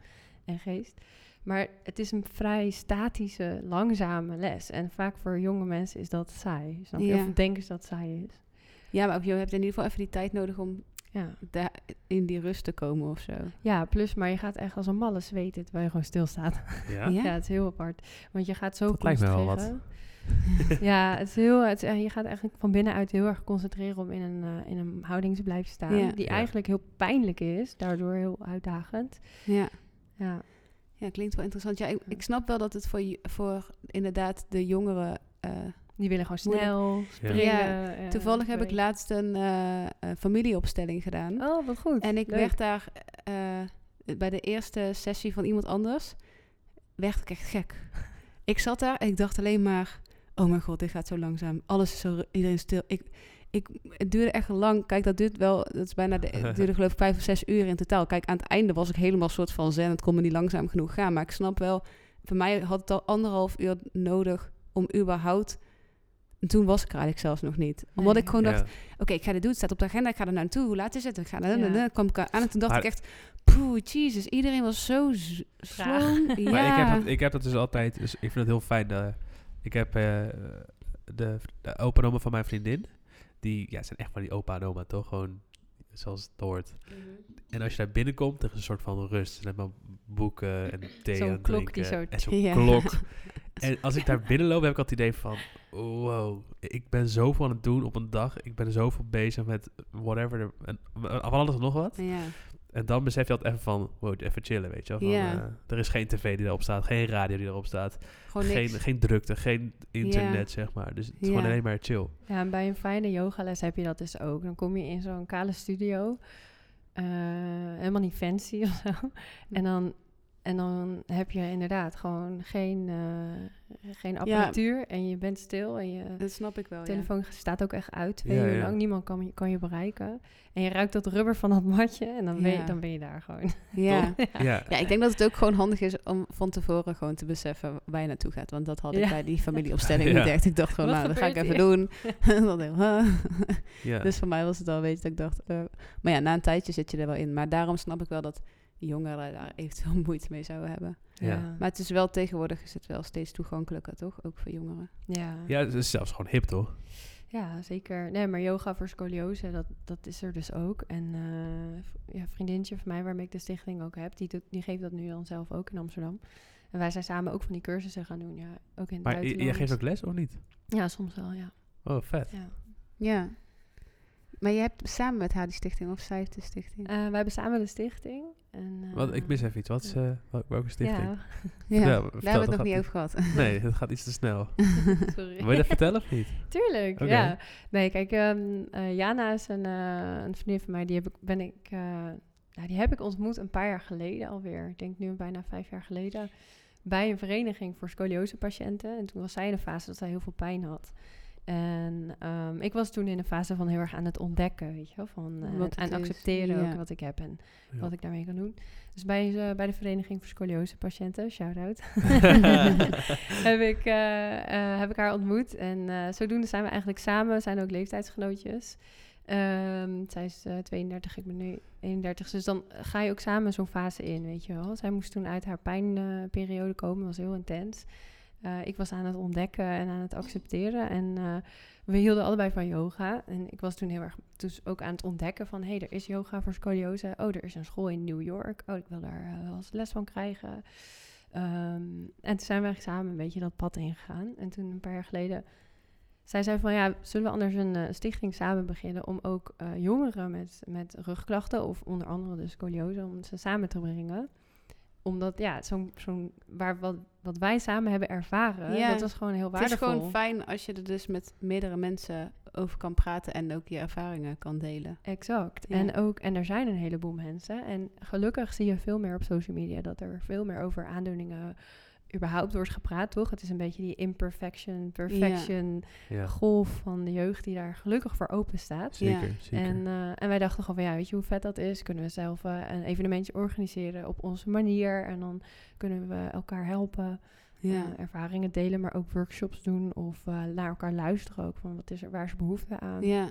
Speaker 1: en geest. Maar het is een vrij statische, langzame les. En vaak voor jonge mensen is dat saai. Snap je?
Speaker 2: Ja.
Speaker 1: Of denken ze dat het saai is.
Speaker 2: ja, maar ook, je hebt in ieder geval even die tijd nodig om
Speaker 1: Ja.
Speaker 2: daar in die rust te komen of zo.
Speaker 1: ja, plus, maar je gaat echt als een malle zweten terwijl je gewoon stilstaat.
Speaker 3: Ja?
Speaker 2: Ja?
Speaker 1: Ja, het is heel apart. Want je gaat zo
Speaker 3: Dat lijkt me wel wat.
Speaker 1: concentreren. ja, het is heel, het is echt- je gaat eigenlijk van binnenuit heel erg concentreren om in een, eh, in een houding te blijven staan.
Speaker 2: Ja.
Speaker 1: Die
Speaker 3: Ja.
Speaker 1: eigenlijk heel pijnlijk is, daardoor heel uitdagend.
Speaker 2: Ja.
Speaker 1: Ja,
Speaker 2: ja, klinkt wel interessant. Ja, ik, ik snap wel dat het voor, je- voor inderdaad de jongeren... eh,
Speaker 1: die willen gewoon snel springen.
Speaker 2: Ja.
Speaker 1: eh,
Speaker 2: toevallig heb ik
Speaker 1: bewegen.
Speaker 2: laatst een eh, eh, familieopstelling gedaan.
Speaker 1: Oh, wat goed.
Speaker 2: En ik
Speaker 1: Leuk.
Speaker 2: werd daar eh, bij de eerste sessie van iemand anders, werd ik echt gek. Ik zat daar en ik dacht alleen maar, oh mijn god, dit gaat zo langzaam. Alles is zo, ru- iedereen is stil. Ik, ik, het duurde echt lang. Kijk, dat duurt wel, dat is bijna, de, het duurde geloof ik vijf of zes uur in totaal. Kijk, aan het einde was ik helemaal soort van zen. Het kon me niet langzaam genoeg gaan. Maar ik snap wel, voor mij had het al anderhalf uur nodig om überhaupt... En toen was ik er eigenlijk zelfs nog niet. Omdat
Speaker 1: Nee.
Speaker 2: ik gewoon dacht,
Speaker 3: Ja.
Speaker 2: oké, ik ga dit doen. Het staat op de agenda. Ik ga er naartoe. Hoe laat is het? Ik ga naar
Speaker 1: Ja.
Speaker 2: dan kwam ik aan en toen dacht
Speaker 3: Maar-
Speaker 2: ik echt... Poeh, jezus. Iedereen was zo z-
Speaker 1: Traag.
Speaker 2: sloom. ja.
Speaker 3: Maar ik, heb dat, ik heb dat dus altijd. Dus ik vind het heel fijn. Dat, ik heb eh, de, de opa en oma van mijn vriendin. Die ja, zijn echt van die opa en oma, toch? Gewoon zoals het hoort.
Speaker 1: Mhm.
Speaker 3: En als je daar binnenkomt, er is een soort van rust. En maar boeken en thee
Speaker 1: Zo'n
Speaker 3: aan het
Speaker 1: klok die
Speaker 3: drinken
Speaker 1: zo-
Speaker 3: En zo'n
Speaker 2: Ja.
Speaker 3: klok. En als ik daar binnenloop, heb ik altijd het idee van... Wow, ik ben zoveel aan het doen op een dag. Ik ben zoveel bezig met whatever. er- En, van alles en nog wat.
Speaker 2: ja.
Speaker 3: En dan besef je altijd even van, wow, even chillen, weet je wel. Van,
Speaker 2: Ja.
Speaker 3: eh, er is geen tv die daarop staat, geen radio die daarop staat,
Speaker 2: Gewoon
Speaker 3: geen,
Speaker 2: Oh, niks.
Speaker 3: geen drukte, geen internet, zeg maar. Dus het is gewoon
Speaker 2: Ja.
Speaker 3: alleen maar chill.
Speaker 1: Ja, en bij een fijne yogales heb je dat dus ook. Dan kom je in zo'n kale studio. eh, helemaal niet fancy of
Speaker 2: Hm.
Speaker 1: zo. En dan, en dan heb je inderdaad gewoon geen, eh, geen apparatuur. En je bent stil en je
Speaker 2: dat snap ik wel, Oh, ja.
Speaker 1: telefoon staat ook echt uit twee
Speaker 3: Ja,
Speaker 1: uur
Speaker 3: ja.
Speaker 1: lang. Niemand kan, je- kan je bereiken. En je ruikt dat rubber van dat matje en dan, ben, je,
Speaker 2: Ja.
Speaker 1: dan ben je daar gewoon.
Speaker 2: Ja.
Speaker 3: Ja, ja.
Speaker 2: ja, ik denk dat het ook gewoon handig is om van tevoren gewoon te beseffen waar je naartoe gaat. Want dat had ik
Speaker 1: Ja.
Speaker 2: bij die familieopstelling
Speaker 3: Ja.
Speaker 2: niet echt. Ik dacht gewoon,
Speaker 1: Wat
Speaker 2: nou, dat ga ik
Speaker 1: gebeurt
Speaker 2: even doen. Dan denk ik, huh.
Speaker 3: Dus,
Speaker 2: Dus voor mij was het al een beetje dat ik dacht... eh, maar ja, na een tijdje zit je er wel in. Maar daarom snap ik wel dat jongeren daar eventueel moeite mee zouden hebben.
Speaker 3: Ja.
Speaker 2: Maar het is wel tegenwoordig is het wel steeds toegankelijker, toch? Ook voor jongeren.
Speaker 1: ja.
Speaker 3: het is zelfs gewoon hip, toch?
Speaker 1: Ja, zeker. Nee, maar yoga voor scoliose, dat, dat is er dus ook. En eh, v- ja, een vriendinnetje van mij, waarmee ik de stichting ook heb, die, doet, die geeft dat nu dan zelf ook in Amsterdam. En wij zijn samen ook van die cursussen gaan doen, ja. Ook in het
Speaker 3: Maar j-
Speaker 1: buitenland.
Speaker 3: jij geeft ook les, of niet?
Speaker 1: Ja, soms wel, ja.
Speaker 3: Oh, vet.
Speaker 1: ja.
Speaker 2: Ja. Maar je hebt samen met haar die stichting of zij heeft de stichting?
Speaker 1: Eh, we hebben samen de stichting. En,
Speaker 3: Wat,
Speaker 1: eh,
Speaker 3: ik mis even iets. Wat is, eh, wel- welke stichting?
Speaker 1: Ja,
Speaker 2: ja,
Speaker 3: vertel,
Speaker 2: daar
Speaker 3: vertel,
Speaker 2: hebben we
Speaker 3: dat
Speaker 2: het nog
Speaker 3: gaat
Speaker 2: niet over gehad.
Speaker 3: Nee, dat gaat iets te snel. Wil je
Speaker 1: sorry.
Speaker 3: dat vertellen of niet?
Speaker 1: Tuurlijk,
Speaker 3: Oké.
Speaker 1: ja. Nee, kijk, ehm, eh, Jana is een, eh, een vriendin van mij. Die heb ik, ben ik, eh, nou, die heb ik ontmoet een paar jaar geleden alweer. Ik denk nu bijna vijf jaar geleden. Bij een vereniging voor scoliosepatiënten. En toen was zij in een fase dat zij heel veel pijn had. En ehm, ik was toen in een fase van heel erg aan het ontdekken, weet je wel. Van, eh,
Speaker 2: Wat het
Speaker 1: en
Speaker 2: is,
Speaker 1: accepteren ook
Speaker 2: ja.
Speaker 1: wat ik heb en
Speaker 3: Ja.
Speaker 1: wat ik daarmee kan doen. Dus bij, eh, bij de Vereniging voor Scoliosepatiënten, shout-out, heb, ik, eh, eh, heb ik haar ontmoet. En eh, zodoende zijn we eigenlijk samen, zijn ook leeftijdsgenootjes. Ehm, zij is eh, 32, ik ben nu 31. Dus dan ga je ook samen zo'n fase in, weet je wel. Zij moest toen uit haar pijnperiode komen, was heel intens. Eh, ik was aan het ontdekken en aan het accepteren. En eh, we hielden allebei van yoga. En ik was toen heel erg dus ook aan het ontdekken van... hé, hey, er is yoga voor scoliose. Oh, er is een school in New York. Oh, ik wil daar eh, wel eens les van krijgen. Ehm, en toen zijn we eigenlijk samen een beetje dat pad ingegaan. En toen een paar jaar geleden... Zij zei van, ja, zullen we anders een eh, stichting samen beginnen... om ook eh, jongeren met, met rugklachten of onder andere de scoliose... om ze samen te brengen omdat ja, zo'n zo'n waar wat, wat wij samen hebben ervaren,
Speaker 2: Ja.
Speaker 1: dat was gewoon heel
Speaker 2: Het is
Speaker 1: waardevol.
Speaker 2: gewoon fijn als je er dus met meerdere mensen over kan praten en ook je ervaringen kan delen.
Speaker 1: Exact.
Speaker 2: Ja.
Speaker 1: En ook, en er zijn een heleboel mensen. En gelukkig zie je veel meer op social media dat er veel meer over aandoeningen überhaupt wordt gepraat, toch? Het is een beetje die imperfection, perfection
Speaker 3: ja,
Speaker 1: golf van de jeugd die daar gelukkig voor open staat.
Speaker 3: zeker, zeker.
Speaker 1: En, eh, en wij dachten gewoon van ja, weet je hoe vet dat is? Kunnen we zelf eh, een evenementje organiseren op onze manier? En dan kunnen we elkaar helpen.
Speaker 2: Ja.
Speaker 1: eh, ervaringen delen, maar ook workshops doen of eh, naar elkaar luisteren ook. Van wat is er, waar is behoefte aan?
Speaker 2: Ja,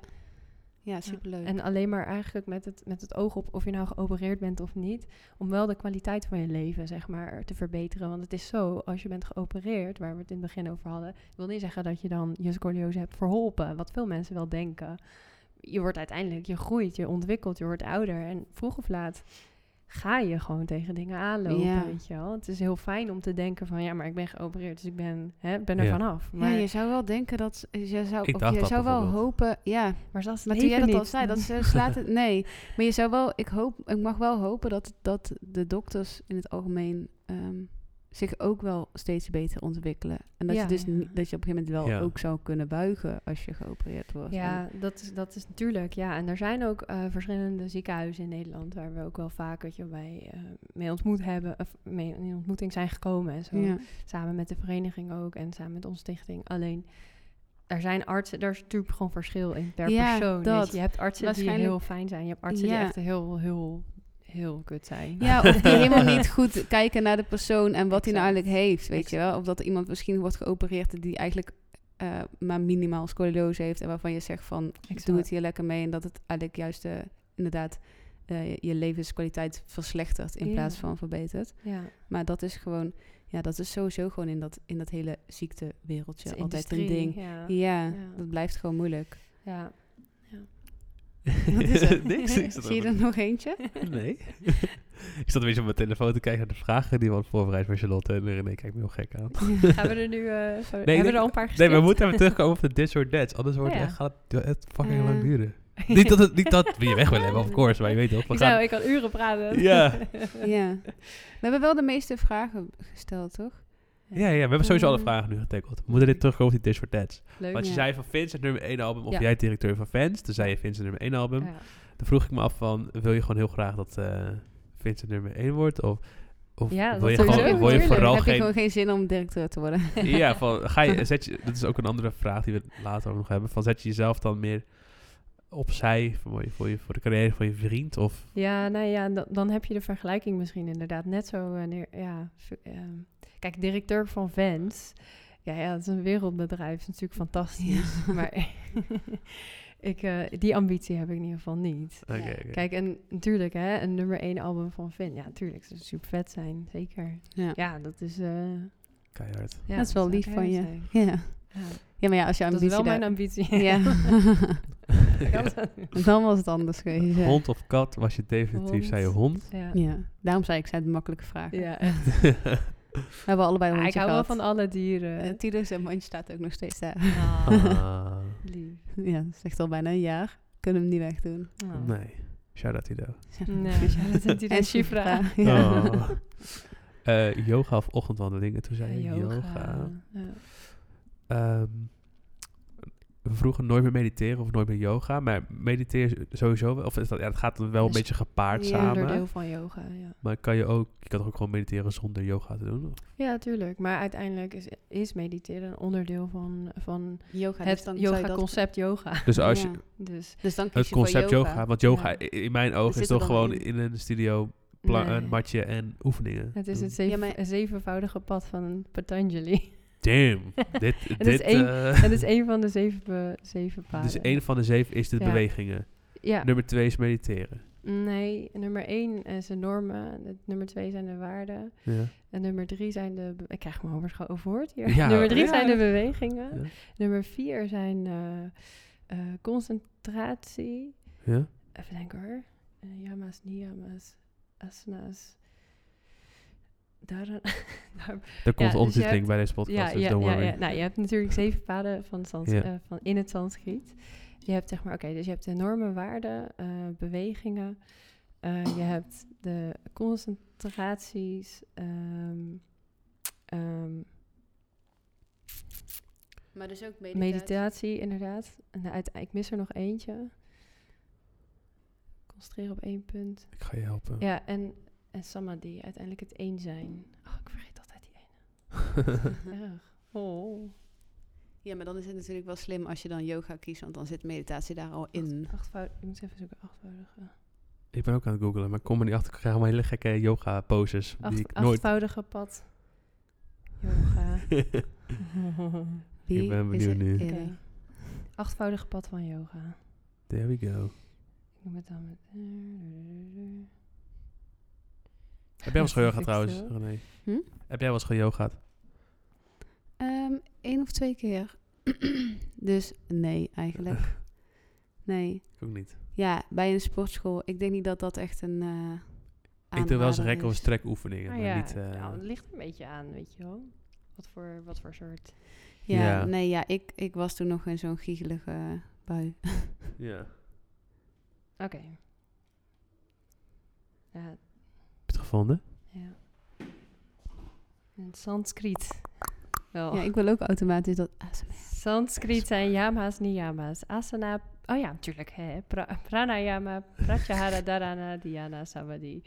Speaker 2: ja superleuk.
Speaker 1: En alleen maar eigenlijk met het, met het oog op of je nou geopereerd bent of niet, om wel de kwaliteit van je leven, zeg maar, te verbeteren. Want het is zo, als je bent geopereerd, waar we het in het begin over hadden, wil niet zeggen dat je dan je scoliose hebt verholpen, wat veel mensen wel denken. Je wordt uiteindelijk, je groeit, je ontwikkelt, je wordt ouder. En vroeg of laat ga je gewoon tegen dingen aanlopen,
Speaker 2: Ja.
Speaker 1: weet je wel. Het is heel fijn om te denken van, ja, maar ik ben geopereerd, dus ik ben, hè, ben er
Speaker 3: Ja.
Speaker 1: vanaf.
Speaker 2: ja,
Speaker 1: Maar,
Speaker 2: je zou wel denken dat je zou,
Speaker 3: Ik
Speaker 2: of
Speaker 3: dacht
Speaker 2: je
Speaker 3: dat
Speaker 2: zou wel
Speaker 3: bijvoorbeeld.
Speaker 2: hopen, ja,
Speaker 1: maar dat is
Speaker 2: maar toen jij dat al
Speaker 1: niet.
Speaker 2: zei, dat ze slaat het, nee, maar je zou wel, ik hoop, ik mag wel hopen dat, dat de dokters in het algemeen ehm, zich ook wel steeds beter ontwikkelen en dat
Speaker 1: Ja.
Speaker 2: je dus ni- dat je op een gegeven moment wel
Speaker 3: Ja.
Speaker 2: ook zou kunnen buigen als je geopereerd wordt. En-
Speaker 1: Ja, dat is, dat is natuurlijk. Ja, en er zijn ook eh, verschillende ziekenhuizen in Nederland waar we ook wel vaak weet je, bij, eh, mee ontmoet hebben, of mee in ontmoeting zijn gekomen en zo.
Speaker 2: ja.
Speaker 1: Samen met de vereniging ook en samen met onze stichting. Alleen, er zijn artsen, daar is natuurlijk gewoon verschil in per
Speaker 2: Ja,
Speaker 1: persoon. weet
Speaker 2: dat.
Speaker 1: je. Je hebt artsen die
Speaker 2: Waarschijnlijk-
Speaker 1: heel fijn zijn, je hebt artsen
Speaker 2: Ja.
Speaker 1: die echt heel, heel, heel kut zijn.
Speaker 2: Ja, of die helemaal niet goed kijken naar de persoon en wat hij nou
Speaker 1: Exact.
Speaker 2: eigenlijk heeft, weet je
Speaker 1: Exact.
Speaker 2: wel. Of dat iemand misschien wordt geopereerd die eigenlijk eh, maar minimaal scoliose heeft en waarvan je zegt van, doe het hier lekker mee. En dat het eigenlijk juist eh, inderdaad eh, je levenskwaliteit verslechtert in
Speaker 1: Ja.
Speaker 2: plaats van verbetert.
Speaker 1: Ja,
Speaker 2: Maar dat is gewoon, ja, dat is sowieso gewoon in dat, in dat hele ziektewereldje
Speaker 1: het is
Speaker 2: altijd een
Speaker 1: industrie,
Speaker 2: ding.
Speaker 1: Ja.
Speaker 2: Ja,
Speaker 1: ja.
Speaker 2: dat blijft gewoon moeilijk. eh, Wat is er?
Speaker 3: Niks. ik zat
Speaker 2: Zie je
Speaker 3: over-
Speaker 2: er nog eentje?
Speaker 3: Nee. ik zat een beetje op mijn telefoon te kijken naar de vragen die we hadden voorbereid voor Charlotte. En René kijkt me heel gek aan.
Speaker 1: Gaan we er nu, eh, zo-
Speaker 3: ik
Speaker 1: hebben we
Speaker 3: denk-
Speaker 1: er al een paar
Speaker 3: Nee,
Speaker 1: geskipt?
Speaker 3: we moeten even terugkomen op de this or that. Anders wordt
Speaker 1: Oh, Ja.
Speaker 3: het echt, gaat het echt fucking
Speaker 2: Eh.
Speaker 3: lang duren. Niet dat, het, niet dat we je weg willen hebben, of course. Maar je weet toch, we
Speaker 1: Ik,
Speaker 3: gaan...
Speaker 1: zou, ik kan uren praten.
Speaker 3: Ja.
Speaker 2: ja. We hebben wel de meeste vragen gesteld, toch?
Speaker 3: Ja, ja, we hebben sowieso alle vragen nu getackled. We moeten dit terugkomen op die this or that's.
Speaker 1: Leuk.
Speaker 3: Want je
Speaker 2: Ja.
Speaker 3: zei van Vince het nummer 1 album, of
Speaker 1: Ja.
Speaker 3: jij directeur van Fans. Toen zei je Vince het nummer 1 album.
Speaker 1: Ja.
Speaker 3: Dan vroeg ik me af van, wil je gewoon heel graag dat eh Vince het nummer 1 wordt? Of, of
Speaker 1: Ja, dat
Speaker 3: wil je,
Speaker 1: sowieso,
Speaker 3: gewoon, wil je
Speaker 1: natuurlijk.
Speaker 3: vooral
Speaker 2: heb je
Speaker 3: geen...
Speaker 2: gewoon geen zin om directeur te worden.
Speaker 3: Ja, van, ga je, zet je, dat is ook een andere vraag die we later ook nog hebben. Van, zet je jezelf dan meer opzij voor, je, voor, je, voor de carrière van je vriend? Of,
Speaker 1: Ja, nou ja, da- dan heb je de vergelijking misschien inderdaad net zo. eh, neer- ja, v- ehm, kijk, directeur van Vans. Ja, ja, dat is een wereldbedrijf. is natuurlijk fantastisch. Maar ik, eh, die ambitie heb ik in ieder geval niet.
Speaker 3: Oké,
Speaker 2: Ja.
Speaker 3: oké.
Speaker 1: Kijk, en natuurlijk, hè, een nummer één album van Vin. Ja, natuurlijk, ze super vet zijn, zeker.
Speaker 2: Ja.
Speaker 1: Ja, dat is... eh,
Speaker 3: keihard.
Speaker 1: ja,
Speaker 2: Dat is wel
Speaker 1: zou
Speaker 2: lief
Speaker 1: ik
Speaker 2: van je.
Speaker 1: zijn.
Speaker 2: Ja.
Speaker 1: Ja,
Speaker 2: ja, maar ja, als je
Speaker 1: dat
Speaker 2: ambitie
Speaker 1: is wel
Speaker 2: daar-
Speaker 1: mijn ambitie.
Speaker 2: Ja.
Speaker 1: Ja.
Speaker 2: Dan was het anders geweest. Ja.
Speaker 3: Hond of kat was je definitief,
Speaker 1: Hond.
Speaker 3: zei je hond.
Speaker 1: ja.
Speaker 2: Ja. Daarom zei ik, zijn het makkelijke vragen.
Speaker 1: Ja, echt.
Speaker 2: We hebben allebei een
Speaker 1: Ah, ik
Speaker 2: hondje
Speaker 1: hou wel
Speaker 2: gehad.
Speaker 1: van alle dieren.
Speaker 2: Eh, Tilo's en mondje staat ook nog steeds daar.
Speaker 1: Ah,
Speaker 3: Ah.
Speaker 1: lief.
Speaker 2: ja, dat is echt al bijna een jaar. kunnen hem niet wegdoen.
Speaker 3: Nee. Shout-out Ido.
Speaker 1: Ah. Nee, ja, dat had hij dan
Speaker 2: En
Speaker 1: Shifra.
Speaker 2: Shifra. Ja.
Speaker 3: Oh. Eh, yoga of ochtendwandelingen? Toen zei je
Speaker 1: Ja,
Speaker 3: yoga.
Speaker 1: Ja.
Speaker 3: Ehm, vroeger nooit meer mediteren of nooit meer yoga. Maar mediteren sowieso wel. Of is dat, ja, dat gaat dan wel een
Speaker 1: Is-
Speaker 3: beetje gepaard
Speaker 2: ja,
Speaker 3: samen.
Speaker 1: onderdeel van yoga, ja.
Speaker 3: Maar kan je ook, je kan toch ook gewoon mediteren zonder yoga te doen?
Speaker 1: Ja, tuurlijk. Maar uiteindelijk is, is mediteren een onderdeel van, van
Speaker 2: Yoga.
Speaker 1: het yoga-concept yoga.
Speaker 3: Dus als je,
Speaker 1: Dus
Speaker 2: Dus dan kies
Speaker 3: het concept
Speaker 2: je voor
Speaker 3: yoga. want yoga
Speaker 1: Ja.
Speaker 3: i- in mijn ogen is
Speaker 2: zit er
Speaker 3: toch
Speaker 2: dan
Speaker 3: gewoon
Speaker 2: in.
Speaker 3: in een studio pla-
Speaker 1: nee.
Speaker 3: een matje en oefeningen.
Speaker 1: Het is
Speaker 3: doen.
Speaker 1: het zeven-
Speaker 2: Ja, maar-
Speaker 1: een zevenvoudige pad van Patanjali.
Speaker 3: Damn, dit,
Speaker 1: is
Speaker 3: dit,
Speaker 1: één-
Speaker 3: eh,
Speaker 1: Het is een van de zeven, be- zeven paden.
Speaker 3: dus één van de zeven is de
Speaker 1: Ja.
Speaker 3: bewegingen.
Speaker 1: Ja,
Speaker 3: Nummer twee is mediteren.
Speaker 1: nee. Nummer één eh, zijn normen. Het- Nummer twee zijn de waarden.
Speaker 3: Ja.
Speaker 1: En nummer drie zijn de... be- Ik krijg me over overhoord hier.
Speaker 3: Ja.
Speaker 1: nummer drie
Speaker 2: Ja.
Speaker 1: zijn de bewegingen.
Speaker 3: Ja.
Speaker 1: Nummer vier zijn eh, eh, concentratie.
Speaker 3: Ja?
Speaker 1: Even denken hoor. Eh, yamas, niyamas, asanas. Daar, daar
Speaker 3: Er komt
Speaker 1: dus je
Speaker 3: ondertiteling
Speaker 1: hebt-
Speaker 3: bij deze podcast,
Speaker 1: ja,
Speaker 3: dus
Speaker 1: ja,
Speaker 3: don't
Speaker 1: ja,
Speaker 3: worry.
Speaker 1: ja. Nou, je hebt natuurlijk zeven paden van, Sans-
Speaker 3: Ja.
Speaker 1: eh, van in het Sanskriet. Je hebt zeg maar, oké, dus je hebt de normen, waarden, eh, bewegingen. Eh, je hebt de concentraties. ehm, ehm,
Speaker 2: Maar dus ook meditatie.
Speaker 1: meditatie, inderdaad. En uit, ik mis er nog eentje. Concentreren op één punt.
Speaker 3: Ik ga je helpen.
Speaker 1: Ja, en, en samadhi, uiteindelijk het één zijn. Oh, ik vergeet altijd die ene. Erg. Oh.
Speaker 2: Ja, maar dan is het natuurlijk wel slim als je dan yoga kiest, want dan zit meditatie daar al in.
Speaker 1: Achtvoudig, ik moet even zoeken, achtvoudige.
Speaker 3: Ik ben ook aan het googlen, maar ik kom er niet achter. Ik krijg allemaal hele gekke yoga poses die
Speaker 1: Acht,
Speaker 3: ik nooit...
Speaker 1: Achtvoudige pad. Yoga.
Speaker 2: Wie
Speaker 3: Ik ben
Speaker 2: is
Speaker 3: benieuwd
Speaker 2: er
Speaker 3: nu.
Speaker 1: Oké.
Speaker 2: eerder?
Speaker 1: Achtvoudige pad van yoga.
Speaker 3: There we go.
Speaker 1: Ik noem het dan met...
Speaker 3: Heb jij wel eens
Speaker 1: Dat is
Speaker 3: geyoga
Speaker 1: ik
Speaker 3: trouwens,
Speaker 1: zo.
Speaker 3: René?
Speaker 2: Hm?
Speaker 3: Heb jij wel eens geyoga?
Speaker 2: Eén Ehm, of twee keer. dus nee, eigenlijk. Nee.
Speaker 3: Ik ook niet.
Speaker 2: Ja, bij een sportschool. Ik denk niet dat dat echt een. eh,
Speaker 3: Ik doe wel eens
Speaker 2: aanrader
Speaker 3: rek- of
Speaker 2: is.
Speaker 3: strekoefeningen,
Speaker 1: Ah
Speaker 3: maar
Speaker 1: ja,
Speaker 3: niet... eh,
Speaker 1: nou, het ligt een beetje aan, weet je wel. Wat voor, wat voor soort...
Speaker 2: Ja,
Speaker 3: Ja.
Speaker 2: nee, ja, ik, ik was toen nog in zo'n giegelige bui.
Speaker 3: ja.
Speaker 1: Oké. Ja,
Speaker 3: Heb je het gevonden?
Speaker 1: ja. In het Sanskriet. Wel.
Speaker 2: Ja, ik wil ook automatisch dat ASMR.
Speaker 1: Sanskriet zijn yama's, niyama's. Asana, oh ja, natuurlijk. Hè. Pra- pranayama, pratyahara, dharana, dhyana, samadhi.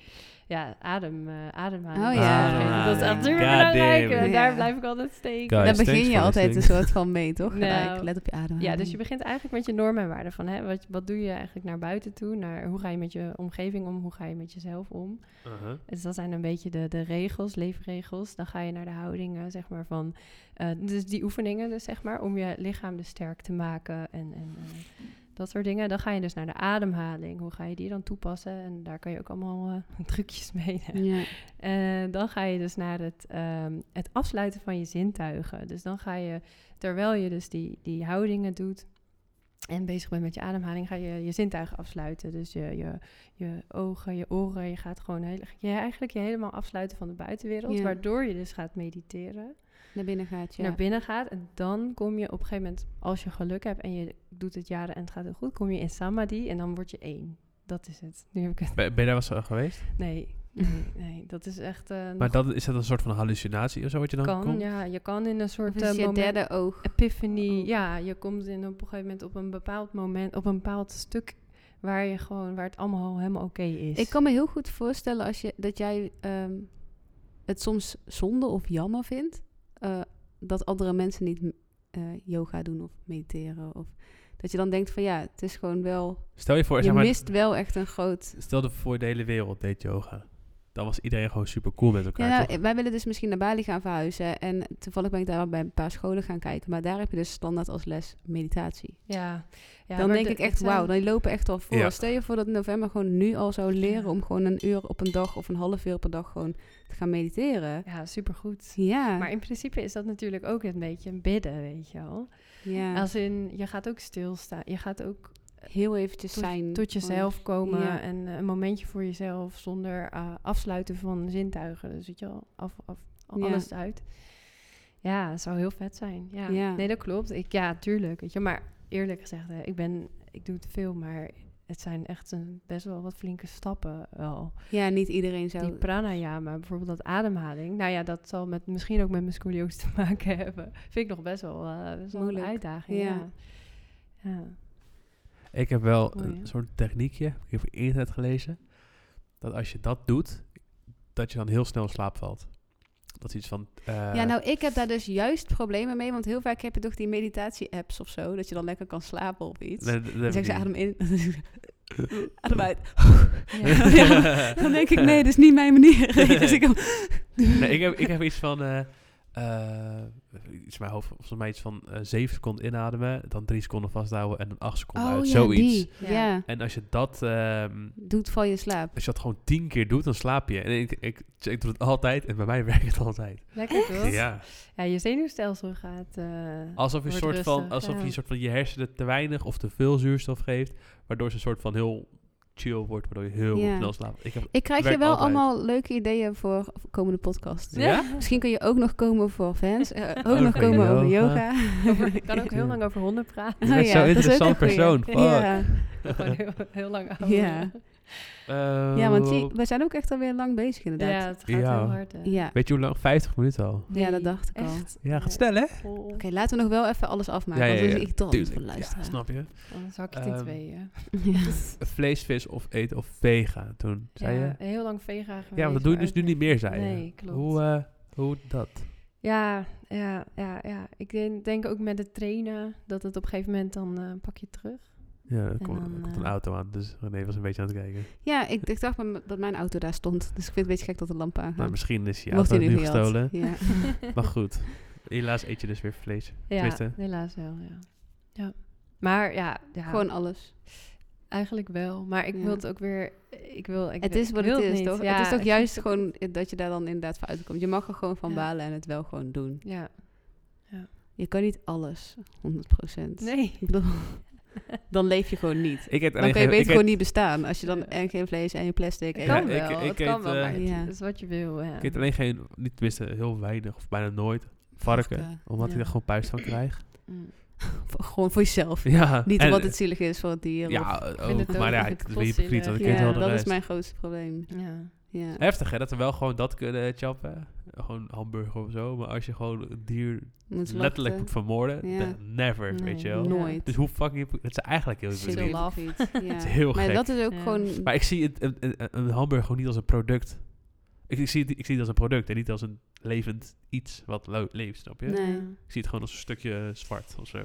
Speaker 1: Ja, adem, eh ademhaling.
Speaker 2: Oh
Speaker 1: is
Speaker 2: ja.
Speaker 1: een gegeven- Dat is
Speaker 2: Ademhaling.
Speaker 1: natuurlijk
Speaker 3: Goddamn.
Speaker 1: belangrijk. En
Speaker 2: Ja.
Speaker 1: daar blijf ik altijd steken.
Speaker 3: Guys,
Speaker 2: Daar
Speaker 3: thanks
Speaker 2: begin je
Speaker 3: for
Speaker 2: altijd een
Speaker 3: listening.
Speaker 2: soort van mee, toch?
Speaker 1: Nou.
Speaker 2: Gelijk, let op je adem.
Speaker 1: Ja, dus je begint eigenlijk met je normen en waarden. Van, hè, wat, wat doe je eigenlijk naar buiten toe? Naar, hoe ga je met je omgeving om? Hoe ga je met jezelf om? Dus dat zijn een beetje de, de regels, leefregels. Dan ga je naar de houdingen, zeg maar, van... eh, dus die oefeningen, dus zeg maar, om je lichaam dus sterk te maken en, en eh, dat soort dingen. Dan ga je dus naar de ademhaling. Hoe ga je die dan toepassen? En daar kan je ook allemaal eh, trucjes mee. hè.
Speaker 2: Ja.
Speaker 1: En dan ga je dus naar het, ehm, het afsluiten van je zintuigen. Dus dan ga je, terwijl je dus die, die houdingen doet en bezig bent met je ademhaling, ga je je zintuigen afsluiten. Dus je, je, je ogen, je oren, je gaat gewoon heel, je, eigenlijk je helemaal afsluiten van de buitenwereld.
Speaker 2: Ja.
Speaker 1: Waardoor je dus gaat mediteren,
Speaker 2: Naar binnen gaat je.
Speaker 1: naar binnen gaat. En dan kom je op een gegeven moment, als je geluk hebt en je doet het jaren en het gaat heel goed, kom je in samadhi en dan word je één. Dat is het. Nu heb ik het.
Speaker 3: Ben, ben je daar wel eens eh, geweest?
Speaker 1: Nee, nee, nee. Dat is echt. eh, nog
Speaker 3: Maar dat, is dat een soort van hallucinatie of zo wat je dan
Speaker 1: kan,
Speaker 3: komt?
Speaker 1: ja. Je kan in een
Speaker 2: Of
Speaker 1: soort
Speaker 2: is
Speaker 1: eh,
Speaker 2: het je
Speaker 1: moment-
Speaker 2: derde Oh. oog.
Speaker 1: epiphany. Ja, je komt in op een gegeven moment op een bepaald moment, op een bepaald stuk waar je gewoon, waar het allemaal helemaal oké is.
Speaker 2: Ik kan me heel goed voorstellen als je, dat jij ehm, het soms zonde of jammer vindt eh, dat andere mensen niet m- eh, yoga doen of mediteren. Of dat je dan denkt van ja, het is gewoon wel.
Speaker 3: Stel je voor,
Speaker 2: je
Speaker 3: Oh, zeg maar,
Speaker 2: mist wel echt een groot.
Speaker 3: stel je voor de hele wereld deed yoga. Dan was iedereen gewoon super cool met elkaar,
Speaker 2: Ja, nou,
Speaker 3: toch?
Speaker 2: wij willen dus misschien naar Bali gaan verhuizen. En toevallig ben ik daar bij een paar scholen gaan kijken. Maar daar heb je dus standaard als les meditatie.
Speaker 1: ja. ja
Speaker 2: dan
Speaker 1: maar
Speaker 2: denk
Speaker 1: de-
Speaker 2: ik echt,
Speaker 1: het zijn-
Speaker 2: wauw, dan lopen echt al voor.
Speaker 3: Ja.
Speaker 2: Stel je voor dat november gewoon nu al zou leren
Speaker 1: Ja.
Speaker 2: om gewoon een uur op een dag of een half uur per dag gewoon te gaan mediteren.
Speaker 1: Ja, supergoed.
Speaker 2: Ja.
Speaker 1: Maar in principe is dat natuurlijk ook een beetje een bidden, weet je wel.
Speaker 2: Ja,
Speaker 1: Als in, je gaat ook stilstaan. Je gaat ook
Speaker 2: heel eventjes
Speaker 1: tot-
Speaker 2: zijn.
Speaker 1: tot
Speaker 2: gewoon-
Speaker 1: jezelf komen
Speaker 2: ja.
Speaker 1: en eh, een momentje voor jezelf zonder eh, afsluiten van zintuigen. Dus weet je wel, af, af, al-
Speaker 2: Ja.
Speaker 1: alles uit. Ja, het zou heel vet zijn. Ja,
Speaker 2: Ja.
Speaker 1: nee, dat klopt. Ik, ja, tuurlijk. Weet je, maar eerlijk gezegd, hè, ik, ben, ik doe het veel, maar het zijn echt een, best wel wat flinke stappen wel.
Speaker 2: Ja, niet
Speaker 1: Die
Speaker 2: iedereen zou...
Speaker 1: pranayama, bijvoorbeeld dat ademhaling. Nou ja, dat zal met, misschien ook met mijn scoliose te maken hebben. Vind ik nog best wel, eh, best wel een
Speaker 2: Moeilijk,
Speaker 1: uitdaging.
Speaker 2: ja.
Speaker 1: Ja. Ja.
Speaker 3: Ik heb wel
Speaker 2: Oh,
Speaker 1: Mooi,
Speaker 3: een
Speaker 1: ja.
Speaker 3: soort techniekje, heb ik heb op internet gelezen, dat als je dat doet, dat je dan heel snel in slaap valt. Dat is iets van... eh,
Speaker 2: Ja, nou, ik heb daar dus juist problemen mee, want heel vaak heb je toch die meditatie-apps of zo, dat je dan lekker kan slapen of iets.
Speaker 3: nee, dat heb
Speaker 2: dan zeg
Speaker 3: ik
Speaker 2: ze
Speaker 3: niet.
Speaker 2: adem in, adem uit.
Speaker 1: Ja.
Speaker 2: Ja, dan denk ik, nee, dat is niet mijn manier. dus ik,
Speaker 3: Nee, ik, heb, ik heb iets van... eh eh, iets in mijn hoofd, volgens mij iets van eh 7 seconden inademen, dan 3 seconden vasthouden en dan 8 seconden uit. Zoiets.
Speaker 2: oh Ja.
Speaker 1: Ja.
Speaker 3: En als je dat... ehm,
Speaker 2: doet van je slaap.
Speaker 3: als je dat gewoon 10 keer doet, dan slaap je. En ik, ik, ik doe het altijd en bij mij werkt het altijd.
Speaker 1: Lekker toch? Ja.
Speaker 3: Ja.
Speaker 1: je zenuwstelsel gaat... eh,
Speaker 3: Alsof je,
Speaker 1: Wordt
Speaker 3: soort van,
Speaker 1: rustig,
Speaker 3: alsof
Speaker 1: ja.
Speaker 3: je soort van je hersenen te weinig of te veel zuurstof geeft. Waardoor ze een soort van heel chill wordt. Waardoor je heel
Speaker 2: Ja.
Speaker 3: snel slaapt. Ik heb,
Speaker 2: Ik krijg je
Speaker 3: Werkt
Speaker 2: wel
Speaker 3: altijd.
Speaker 2: allemaal leuke ideeën voor komende podcast.
Speaker 3: Ja?
Speaker 2: Misschien kun je ook nog komen voor fans, eh, ook nog
Speaker 3: Over
Speaker 2: komen over
Speaker 3: yoga.
Speaker 2: yoga.
Speaker 1: Over- ik kan ook heel lang over honden praten.
Speaker 3: je bent
Speaker 2: ja, dat is ook
Speaker 3: zo'n
Speaker 2: een
Speaker 3: interessant
Speaker 2: goeie.
Speaker 3: persoon. Fuck.
Speaker 2: Ja.
Speaker 1: Gewoon heel, heel lang over.
Speaker 2: Ja.
Speaker 3: Eh,
Speaker 2: ja, want die- we zijn ook echt alweer lang bezig inderdaad.
Speaker 1: Ja,
Speaker 2: Ja,
Speaker 1: het gaat
Speaker 3: Ja.
Speaker 1: heel hard. hè.
Speaker 2: ja.
Speaker 3: Weet je hoe lang? 50 minuten al.
Speaker 2: dat dacht ik al. Oké,
Speaker 1: Echt?
Speaker 3: Ja, gaat snel hè?
Speaker 1: Oh, oh.
Speaker 2: laten we nog wel even alles afmaken,
Speaker 3: Ja,
Speaker 2: want
Speaker 3: ja,
Speaker 2: dan
Speaker 3: ja.
Speaker 2: is het irritant voor
Speaker 3: Tuurlijk. Ja,
Speaker 2: luisteren.
Speaker 3: snap je?
Speaker 1: Dan zak ik het in
Speaker 3: Ehm,
Speaker 1: tweeën.
Speaker 3: Vlees, vis of eten of vega. Toen zei
Speaker 1: ja,
Speaker 3: je...
Speaker 1: heel lang vega geweest.
Speaker 3: Ja, want dat doe je
Speaker 1: maar
Speaker 3: dus nu
Speaker 1: ook
Speaker 3: niet meer, zei je.
Speaker 1: Nee, klopt.
Speaker 3: Hoe, eh, hoe dat?
Speaker 1: Ja, ja, ja, ja. Ik denk, denk ook met het trainen dat het op een gegeven moment dan eh, pak je terug.
Speaker 3: Ja, er
Speaker 1: En
Speaker 3: komt,
Speaker 1: dan,
Speaker 3: er komt
Speaker 1: eh,
Speaker 3: een auto aan. Dus René was een beetje aan het kijken.
Speaker 2: Ja, ik, ik dacht maar dat mijn auto daar stond. Dus ik vind het een beetje gek dat de lamp aangaat.
Speaker 3: Maar misschien is je
Speaker 2: Wordt
Speaker 3: auto
Speaker 2: die
Speaker 3: nu
Speaker 2: nu gejat?
Speaker 3: gestolen.
Speaker 2: Ja.
Speaker 3: Maar goed. Helaas eet je dus weer vlees.
Speaker 1: Ja,
Speaker 3: Tenminste.
Speaker 1: helaas wel, ja. ja. Maar ja, ja
Speaker 2: Gewoon alles.
Speaker 1: eigenlijk wel. Maar ik
Speaker 2: Ja.
Speaker 1: wil het ook weer... Ik wil, ik
Speaker 2: het
Speaker 1: wil-
Speaker 2: is
Speaker 1: ik
Speaker 2: wat
Speaker 1: wil
Speaker 2: het is,
Speaker 1: niet.
Speaker 2: toch?
Speaker 1: Ja,
Speaker 2: het is toch
Speaker 1: ik-
Speaker 2: juist gewoon dat je daar dan inderdaad voor uitkomt. Je mag er gewoon van
Speaker 1: Ja.
Speaker 2: balen en het wel gewoon doen.
Speaker 1: Ja.
Speaker 2: Je kan niet alles, 100
Speaker 1: Nee.
Speaker 2: Ik bedoel, dan leef je gewoon niet.
Speaker 3: Ik eet
Speaker 2: Dan
Speaker 3: alleen
Speaker 2: kun je
Speaker 3: geen- ik
Speaker 2: beter gewoon
Speaker 3: eet-
Speaker 2: niet bestaan. Als je dan en geen vlees en je plastic.
Speaker 1: Het
Speaker 2: En
Speaker 3: Ja,
Speaker 1: kan
Speaker 3: ik-
Speaker 1: wel,
Speaker 3: ik
Speaker 1: het
Speaker 3: eet,
Speaker 1: kan wel,
Speaker 3: eh,
Speaker 1: maar het
Speaker 2: Ja.
Speaker 1: is wat je wil, ja.
Speaker 3: Ik eet alleen geen, niet tenminste heel weinig of bijna nooit, varken.
Speaker 2: Varken,
Speaker 3: Omdat ik
Speaker 1: ja.
Speaker 3: er gewoon puist van krijg.
Speaker 1: Mm.
Speaker 2: eh, Gewoon voor jezelf.
Speaker 3: Ja.
Speaker 2: Niet
Speaker 3: en- eh,
Speaker 2: omdat het zielig is voor het dier. of-
Speaker 3: Ja, ook,
Speaker 1: vind het ook-
Speaker 3: maar
Speaker 1: ik
Speaker 3: ja,
Speaker 1: vind
Speaker 3: ik
Speaker 1: het
Speaker 3: weet niet
Speaker 1: potzinnig.
Speaker 3: precies dat ik
Speaker 1: Ja,
Speaker 3: eet wel
Speaker 2: ja
Speaker 3: de
Speaker 2: dat is
Speaker 3: rest. Eh,
Speaker 2: mijn grootste probleem.
Speaker 1: Ja.
Speaker 2: Ja.
Speaker 3: Heftig hè, dat we wel gewoon dat kunnen chappen. eh, Gewoon hamburger of zo. Maar als je gewoon een dier
Speaker 2: Moet
Speaker 3: letterlijk moet
Speaker 2: lachen.
Speaker 3: vermoorden,
Speaker 2: Ja.
Speaker 3: dan never,
Speaker 1: Nee.
Speaker 3: weet je wel.
Speaker 1: Ja.
Speaker 2: Nooit.
Speaker 3: Dus hoe fucking... Het is eigenlijk heel
Speaker 1: Super
Speaker 3: niet.
Speaker 1: laf.
Speaker 2: Ja.
Speaker 3: is heel
Speaker 2: maar
Speaker 3: gek.
Speaker 2: dat is ook
Speaker 1: Ja.
Speaker 2: gewoon...
Speaker 3: Maar ik zie het, een, een, een hamburger gewoon niet als een product. Ik, ik, zie het, ik zie het als een product en niet als een levend iets wat lo- leeft, snap je?
Speaker 2: Nee.
Speaker 3: Ik zie het gewoon als een stukje zwart of zo.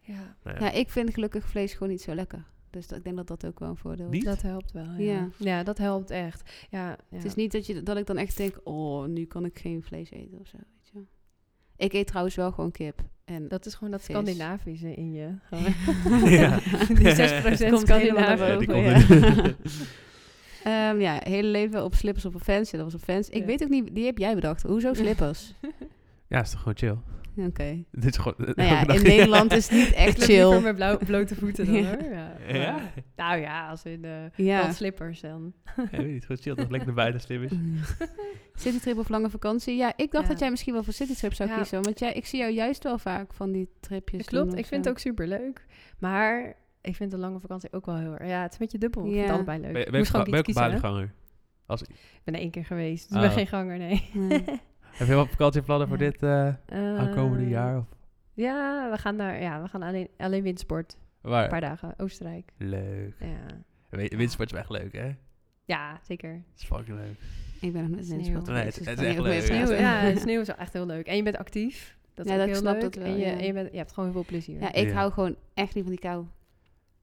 Speaker 1: Ja,
Speaker 3: Nou ja.
Speaker 2: Ja, ik vind gelukkig vlees gewoon niet zo lekker. Dus dat, ik denk dat dat ook wel een voordeel is.
Speaker 3: Niet?
Speaker 1: dat helpt wel. Ja,
Speaker 2: Ja.
Speaker 1: ja. dat helpt echt. Ja, ja.
Speaker 2: Het is niet dat, je, dat ik dan echt denk, oh, nu kan ik geen vlees eten of zo. Weet je. wel. Ik eet trouwens wel gewoon kip. En
Speaker 1: Dat is gewoon dat
Speaker 2: Vis.
Speaker 1: Scandinavische in je.
Speaker 3: Ja.
Speaker 1: Die 6%
Speaker 2: Komt helemaal naar
Speaker 1: Scandinaven.
Speaker 3: Ja, die
Speaker 2: boven,
Speaker 3: komt
Speaker 2: ja.
Speaker 3: er-
Speaker 2: Ehm, ja, hele leven op slippers op een fans. Ja, dat was een fans. Ik
Speaker 1: Ja.
Speaker 2: weet ook niet, die heb jij bedacht. Hoezo slippers?
Speaker 3: ja, is toch gewoon chill.
Speaker 2: Oké.
Speaker 3: Dit is gewoon,
Speaker 2: Nou ja, in Nederland is het niet
Speaker 1: Ik
Speaker 2: echt
Speaker 1: loop liever
Speaker 2: chill.
Speaker 1: met blauw- blote voeten dan
Speaker 2: Ja.
Speaker 1: hoor. Ja.
Speaker 3: Ja,
Speaker 1: Maar- Nou ja, als in de
Speaker 2: Ja.
Speaker 1: slippers dan.
Speaker 3: ik weet niet, gewoon chill. Dat lekker naar buiten slim is.
Speaker 2: Citytrip of lange vakantie. Ja, ik dacht
Speaker 1: Ja.
Speaker 2: dat jij misschien wel voor citytrip zou
Speaker 1: Ja.
Speaker 2: kiezen. Want jij, ik zie jou juist wel vaak van die tripjes doen
Speaker 1: Klopt,
Speaker 2: of
Speaker 1: ik vind
Speaker 2: zo.
Speaker 1: het ook super leuk. Maar ik vind de lange vakantie ook wel heel erg. Ja, het is een beetje dubbel. Ik vind
Speaker 2: Ja.
Speaker 1: het allebei leuk.
Speaker 3: Ben,
Speaker 1: Ik
Speaker 3: ben,
Speaker 1: moest
Speaker 3: je
Speaker 1: gewoon
Speaker 3: ben je
Speaker 1: iets
Speaker 3: ook een
Speaker 1: kiezen. hè?
Speaker 3: baanganger? Als,
Speaker 1: Ik ben er één keer geweest. Dus
Speaker 3: Oh.
Speaker 1: ik ben geen ganger, nee.
Speaker 2: Nee.
Speaker 3: heb je wel vakantieplannen voor
Speaker 1: Ja.
Speaker 3: dit eh
Speaker 1: Eh,
Speaker 3: aankomende jaar? Of,
Speaker 1: Ja, we gaan daar. Ja, we gaan alleen, alleen windsport. Een
Speaker 3: waar?
Speaker 1: paar dagen. Oostenrijk.
Speaker 3: Leuk.
Speaker 1: Ja,
Speaker 3: Win- Windsport is echt leuk, hè? Het
Speaker 1: ja zeker.
Speaker 3: is fucking leuk.
Speaker 2: Ik ben nog net
Speaker 1: Sneeuw.
Speaker 2: in Spanje
Speaker 3: Nee,
Speaker 2: geweest, dus
Speaker 3: het- het
Speaker 2: kan
Speaker 3: is
Speaker 2: ik
Speaker 3: echt
Speaker 2: ook mee
Speaker 3: leuk, ja.
Speaker 1: Sneeuw,
Speaker 2: praten.
Speaker 1: ja, sneeuw is wel echt heel leuk. En je bent actief. Dat is
Speaker 2: Ja,
Speaker 1: ook
Speaker 2: dat
Speaker 1: heel
Speaker 2: snap
Speaker 1: leuk.
Speaker 2: dat wel,
Speaker 1: en je,
Speaker 2: ja.
Speaker 1: en je, bent, je hebt gewoon heel veel plezier.
Speaker 2: Ja, ik
Speaker 3: Ja.
Speaker 2: hou gewoon echt niet van die kou.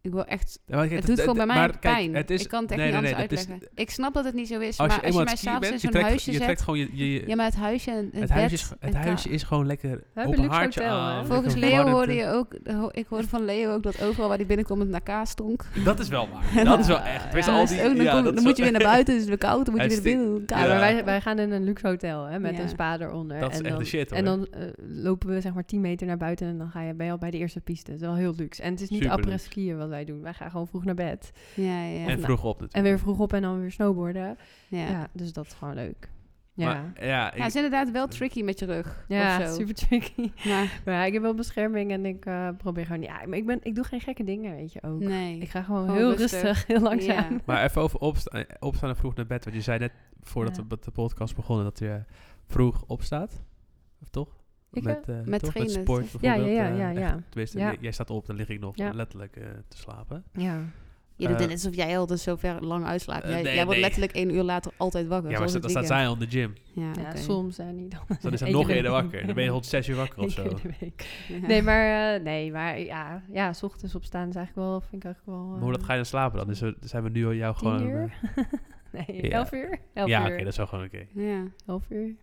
Speaker 2: Ik wil echt...
Speaker 3: Ja, maar kijk,
Speaker 2: Het doet gewoon bij mij
Speaker 3: maar kijk,
Speaker 2: pijn.
Speaker 3: het is-
Speaker 2: ik kan het echt
Speaker 3: nee,
Speaker 2: niet
Speaker 3: nee,
Speaker 2: anders
Speaker 3: nee, dat is-
Speaker 2: uitleggen. ik snap dat het niet zo is,
Speaker 3: Als
Speaker 2: maar
Speaker 3: je
Speaker 2: als je
Speaker 3: eenmaal aan
Speaker 2: mij
Speaker 3: het skiën
Speaker 2: s'avonds in
Speaker 3: bent, je
Speaker 2: zo'n
Speaker 3: trekt,
Speaker 2: huisje
Speaker 3: je trekt
Speaker 2: zet...
Speaker 3: gewoon je... je-
Speaker 2: Ja, maar het huisje en het,
Speaker 3: het
Speaker 2: bed
Speaker 3: huisje, is,
Speaker 2: en
Speaker 3: het huisje is gewoon lekker op
Speaker 1: hebben
Speaker 3: een
Speaker 1: luxe
Speaker 3: haartje
Speaker 1: hotel, hè?
Speaker 3: aan.
Speaker 2: Volgens
Speaker 3: lekker
Speaker 2: Leo
Speaker 3: warmte.
Speaker 2: hoorde je ook, ho- ik hoorde van Leo ook dat overal waar hij binnenkomt het naar kaas stonk.
Speaker 3: Dat is wel waar. Dat is wel echt.
Speaker 2: Ja,
Speaker 3: Tenminste,
Speaker 2: dan
Speaker 3: al
Speaker 2: is het
Speaker 3: die,
Speaker 2: ook- dan
Speaker 3: ja,
Speaker 2: kom-
Speaker 3: dat
Speaker 2: dan
Speaker 3: is
Speaker 2: moet je
Speaker 3: wel-
Speaker 2: weer naar buiten, dus het is weer koud, dan moet je
Speaker 3: Hij
Speaker 2: weer naar
Speaker 3: stinkt.
Speaker 2: binnen.
Speaker 1: Ja,
Speaker 2: koud.
Speaker 1: maar
Speaker 3: Ja.
Speaker 1: wij, wij gaan in een luxe hotel hè, met
Speaker 2: Ja.
Speaker 1: een spa eronder.
Speaker 3: Dat is
Speaker 1: en
Speaker 3: echt
Speaker 1: dan,
Speaker 3: de shit, hoor.
Speaker 1: En dan eh, lopen we zeg maar 10 meter naar buiten en dan ga je, ben je al bij de eerste piste. Dat is wel heel luxe. En het is niet
Speaker 3: Superluxe.
Speaker 1: après skiën wat wij doen. Wij gaan gewoon vroeg naar bed.
Speaker 2: Ja, ja.
Speaker 3: En vroeg op natuurlijk.
Speaker 1: En weer vroeg op en dan weer snowboarden.
Speaker 2: ja.
Speaker 1: Ja, dus dat is gewoon leuk. Ja,
Speaker 3: Maar, ja,
Speaker 2: Ja,
Speaker 3: ik-
Speaker 2: het is inderdaad wel tricky met je rug.
Speaker 1: ja
Speaker 2: of zo.
Speaker 1: super tricky.
Speaker 2: Maar
Speaker 1: Maar ja, ik heb wel bescherming en ik eh, probeer gewoon... Ja, maar ik, ben, ik doe geen gekke dingen, weet je ook.
Speaker 2: nee.
Speaker 1: Ik ga gewoon,
Speaker 2: Gewoon
Speaker 1: heel
Speaker 2: rustig.
Speaker 1: rustig, heel langzaam.
Speaker 2: Ja.
Speaker 3: maar even over opstaan, opstaan en vroeg naar bed. Want je zei net voordat
Speaker 1: Ja.
Speaker 3: we met de podcast begonnen dat je vroeg opstaat. Of toch?
Speaker 1: Ik,
Speaker 3: met, eh,
Speaker 2: met
Speaker 3: toch?
Speaker 2: trainen,
Speaker 3: sport
Speaker 2: toch?
Speaker 1: Ja, ja,
Speaker 3: bijvoorbeeld.
Speaker 1: ja,
Speaker 3: eh,
Speaker 1: ja,
Speaker 3: echt.
Speaker 1: ja.
Speaker 3: Tenminste,
Speaker 1: Ja.
Speaker 3: j- jij staat op, dan lig ik nog
Speaker 1: Ja.
Speaker 3: letterlijk eh, te slapen.
Speaker 1: ja.
Speaker 2: Je doet
Speaker 3: Eh,
Speaker 2: het net alsof jij al dus zo ver lang uitslaapt.
Speaker 3: Eh,
Speaker 2: Jij,
Speaker 3: nee,
Speaker 2: jij wordt
Speaker 3: nee.
Speaker 2: letterlijk één uur later altijd wakker.
Speaker 3: ja, maar
Speaker 2: zoals
Speaker 3: sta-
Speaker 2: het
Speaker 3: dan staat
Speaker 2: weekend.
Speaker 3: zij al in de gym.
Speaker 2: Ja,
Speaker 1: Ja,
Speaker 2: oké.
Speaker 1: soms en niet dan.
Speaker 3: Dus dan is ze
Speaker 1: Eén
Speaker 3: nog
Speaker 1: keer in de
Speaker 3: eerder
Speaker 1: week.
Speaker 3: wakker. Dan ben je rond zes uur wakker of
Speaker 1: Eén
Speaker 3: zo.
Speaker 1: keer in de week.
Speaker 2: Ja.
Speaker 1: Nee, maar, eh, nee, maar ja, ja, s ochtends opstaan is eigenlijk wel, vind ik eigenlijk wel...
Speaker 3: Maar hoe dat
Speaker 1: eh,
Speaker 3: ga je dan slapen dan? Dus we- zijn we nu al jou gewoon...
Speaker 1: Tien
Speaker 3: eh,
Speaker 1: uur? nee,
Speaker 3: ja.
Speaker 1: elf uur? Elf
Speaker 3: ja,
Speaker 1: uur.
Speaker 3: oké, dat is wel gewoon oké.
Speaker 2: Ja.
Speaker 1: Elf uur.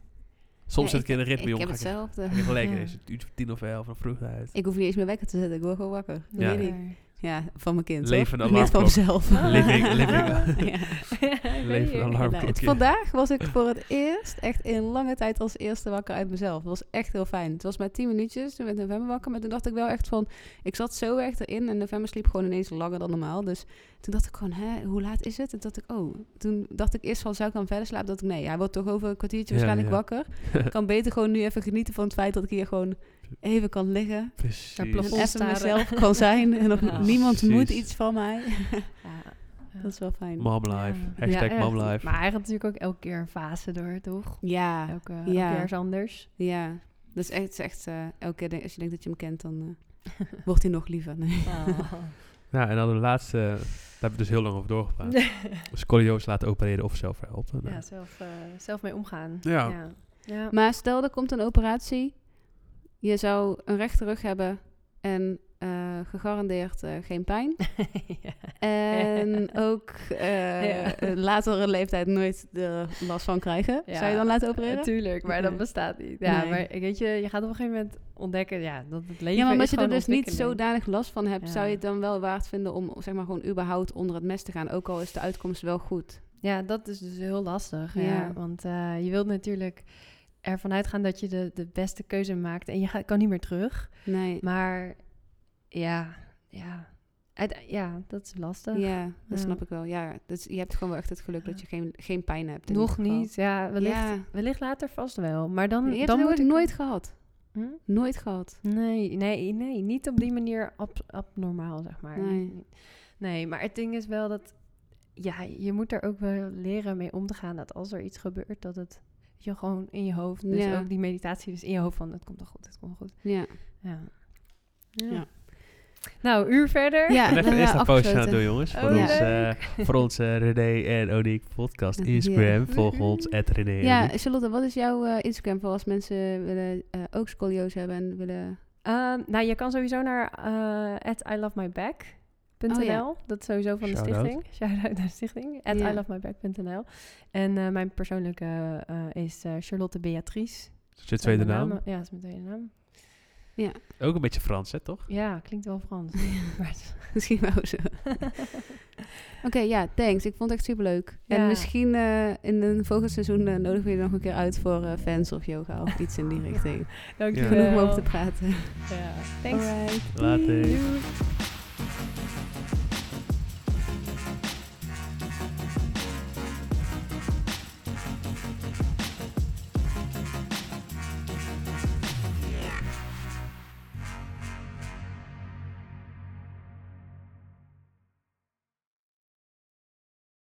Speaker 3: Soms
Speaker 2: Ja,
Speaker 3: zit ik in een ritme,
Speaker 2: Ik
Speaker 3: jongen.
Speaker 2: heb
Speaker 3: ga Ik
Speaker 2: hetzelfde.
Speaker 3: heb lekker,
Speaker 1: Ja.
Speaker 3: is het uurtje voor tien of elf, van vroeg uit.
Speaker 2: Ik hoef niet eens meer wekker te zetten. Ik word gewoon wakker. Dat
Speaker 3: Ja.
Speaker 2: weet ik. Ja, van mijn kind.
Speaker 3: Leven
Speaker 2: hoor.
Speaker 3: alarmklok.
Speaker 2: Niet van mezelf.
Speaker 1: Ah.
Speaker 3: Living,
Speaker 1: Ah.
Speaker 3: living.
Speaker 2: Ja.
Speaker 1: Ja, ik
Speaker 3: Leven
Speaker 1: weet niet.
Speaker 3: alarmklok.
Speaker 1: Nee.
Speaker 2: nou, Het-
Speaker 3: Oké.
Speaker 2: Vandaag was ik voor het eerst echt in lange tijd als eerste wakker uit mezelf. Dat was echt heel fijn. Het was maar 10 minuutjes. Toen werd november wakker. Maar toen dacht ik wel echt van... Ik zat zo echt erin. En november sliep gewoon ineens langer dan normaal. Dus toen dacht ik gewoon... Hè, hoe laat is het? En toen dacht ik... Oh. Toen dacht ik eerst van... Zou ik dan verder slapen? Dat ik nee. Hij wordt toch over een kwartiertje
Speaker 3: Ja,
Speaker 2: waarschijnlijk
Speaker 3: ja.
Speaker 2: wakker. Ik kan beter gewoon nu even genieten van het feit dat ik hier gewoon even kan liggen.
Speaker 3: Precies.
Speaker 1: plafond.
Speaker 2: En even
Speaker 1: staren.
Speaker 2: mezelf kan zijn. En dat
Speaker 1: Ja.
Speaker 2: niemand moet
Speaker 3: Precies.
Speaker 2: iets van mij.
Speaker 1: Ja.
Speaker 2: Dat is wel fijn.
Speaker 3: Mom life.
Speaker 1: Ja.
Speaker 3: Hashtag
Speaker 1: Ja,
Speaker 3: mom
Speaker 1: echt.
Speaker 3: life.
Speaker 1: Maar eigenlijk natuurlijk ook elke keer een fase door, toch? eh,
Speaker 2: Ja.
Speaker 1: Elke,
Speaker 2: Ja.
Speaker 1: elk jaar is anders.
Speaker 2: Ja, dat is echt, het is echt eh, elke keer denk- als je denkt dat je hem kent, dan eh, wordt hij nog liever. Nee.
Speaker 3: Nou, en dan de laatste, daar hebben we dus heel lang over doorgepraat. Scolioos laten opereren of zelf helpen. Nou,
Speaker 1: ja, zelf, eh, zelf mee omgaan.
Speaker 3: Ja.
Speaker 1: ja. Ja.
Speaker 2: Maar stel, er komt een operatie. Je zou een rechte rug hebben en eh, gegarandeerd eh, geen pijn.
Speaker 1: Ja.
Speaker 2: En ook eh,
Speaker 1: Ja.
Speaker 2: een latere leeftijd nooit er last van krijgen.
Speaker 1: Ja.
Speaker 2: Zou je dan laten opereren?
Speaker 1: Natuurlijk, maar dat
Speaker 2: Nee.
Speaker 1: bestaat niet. Ja,
Speaker 2: Nee.
Speaker 1: maar ik weet je, je gaat op een gegeven moment ontdekken ja, dat het leven
Speaker 2: Ja, maar
Speaker 1: is
Speaker 2: omdat je er
Speaker 1: gewoon
Speaker 2: dus niet
Speaker 1: ontwikkeling.
Speaker 2: zodanig last van hebt,
Speaker 1: Ja.
Speaker 2: zou je het dan wel waard vinden om zeg maar gewoon überhaupt onder het mes te gaan. Ook al is de uitkomst wel goed.
Speaker 1: Ja, dat is dus heel lastig. Ja.
Speaker 2: Ja.
Speaker 1: Want eh, je wilt natuurlijk ervan uitgaan dat je de, de beste keuze maakt en je gaat, kan niet meer terug.
Speaker 2: Nee.
Speaker 1: Maar ja, ja. Uite- ja, dat is lastig.
Speaker 2: Ja, dat
Speaker 1: Ja.
Speaker 2: snap ik wel. Ja, dus je hebt gewoon wel echt het geluk dat je geen, geen pijn hebt. in
Speaker 1: Nog
Speaker 2: ieder geval.
Speaker 1: niet, ja wellicht,
Speaker 2: Ja.
Speaker 1: wellicht later vast wel. Maar dan,
Speaker 2: Je hebt
Speaker 1: dan
Speaker 2: het
Speaker 1: moet
Speaker 2: nooit,
Speaker 1: ik...
Speaker 2: nooit gehad.
Speaker 1: Hm?
Speaker 2: Nooit gehad.
Speaker 1: Nee, nee, nee, niet op die manier ab- abnormaal, zeg maar.
Speaker 2: Nee.
Speaker 1: nee, maar het ding is wel dat... Ja, je moet er ook wel leren mee om te gaan dat als er iets gebeurt, dat het je gewoon in je hoofd... Dus
Speaker 2: Ja.
Speaker 1: ook die meditatie dus in je hoofd van, het komt wel goed, het komt wel goed.
Speaker 2: Ja.
Speaker 1: Ja. ja.
Speaker 2: Ja.
Speaker 1: Nou, een uur verder.
Speaker 2: Ja,
Speaker 3: En even
Speaker 2: daarna
Speaker 3: eerst een postje aan het
Speaker 2: afgesloten.
Speaker 3: doen, jongens.
Speaker 1: nou, Oh,
Speaker 3: Voor,
Speaker 2: ja.
Speaker 3: ons, eh, voor onze René en Onique podcast Instagram.
Speaker 1: Ja.
Speaker 3: Volg ons, at René en
Speaker 2: Ja,
Speaker 3: Oniek.
Speaker 2: Charlotte, wat is jouw eh, Instagram voor als mensen willen, eh, ook scoliose hebben en willen...
Speaker 1: Ehm, nou, je kan sowieso naar eh ilovemyback.nl.
Speaker 2: Oh ja.
Speaker 1: Dat is sowieso van de
Speaker 3: Shout-out.
Speaker 1: stichting. Shout-out naar de stichting. At
Speaker 2: Ja.
Speaker 1: ilovemyback.nl. En eh, mijn persoonlijke eh, is eh, Charlotte Beatrice.
Speaker 3: Dat is je tweede
Speaker 1: Mijn
Speaker 3: naam.
Speaker 1: Ja, dat is mijn tweede naam.
Speaker 2: Ja,
Speaker 3: Ook een beetje Frans, hè, toch?
Speaker 1: Ja, klinkt wel Frans. Maar het-
Speaker 2: misschien wel zo. Oké, ja, thanks. Ik vond het echt superleuk. En
Speaker 1: Ja.
Speaker 2: misschien eh, in een volgend seizoen eh, nodigen we je nog een keer uit voor eh, fans of yoga of iets in die richting.
Speaker 1: Dank je
Speaker 3: Ja.
Speaker 1: wel.
Speaker 2: Genoeg om over te praten.
Speaker 1: Ja. Thanks.
Speaker 2: Alright.
Speaker 3: Later.
Speaker 2: Doei.
Speaker 1: Doei.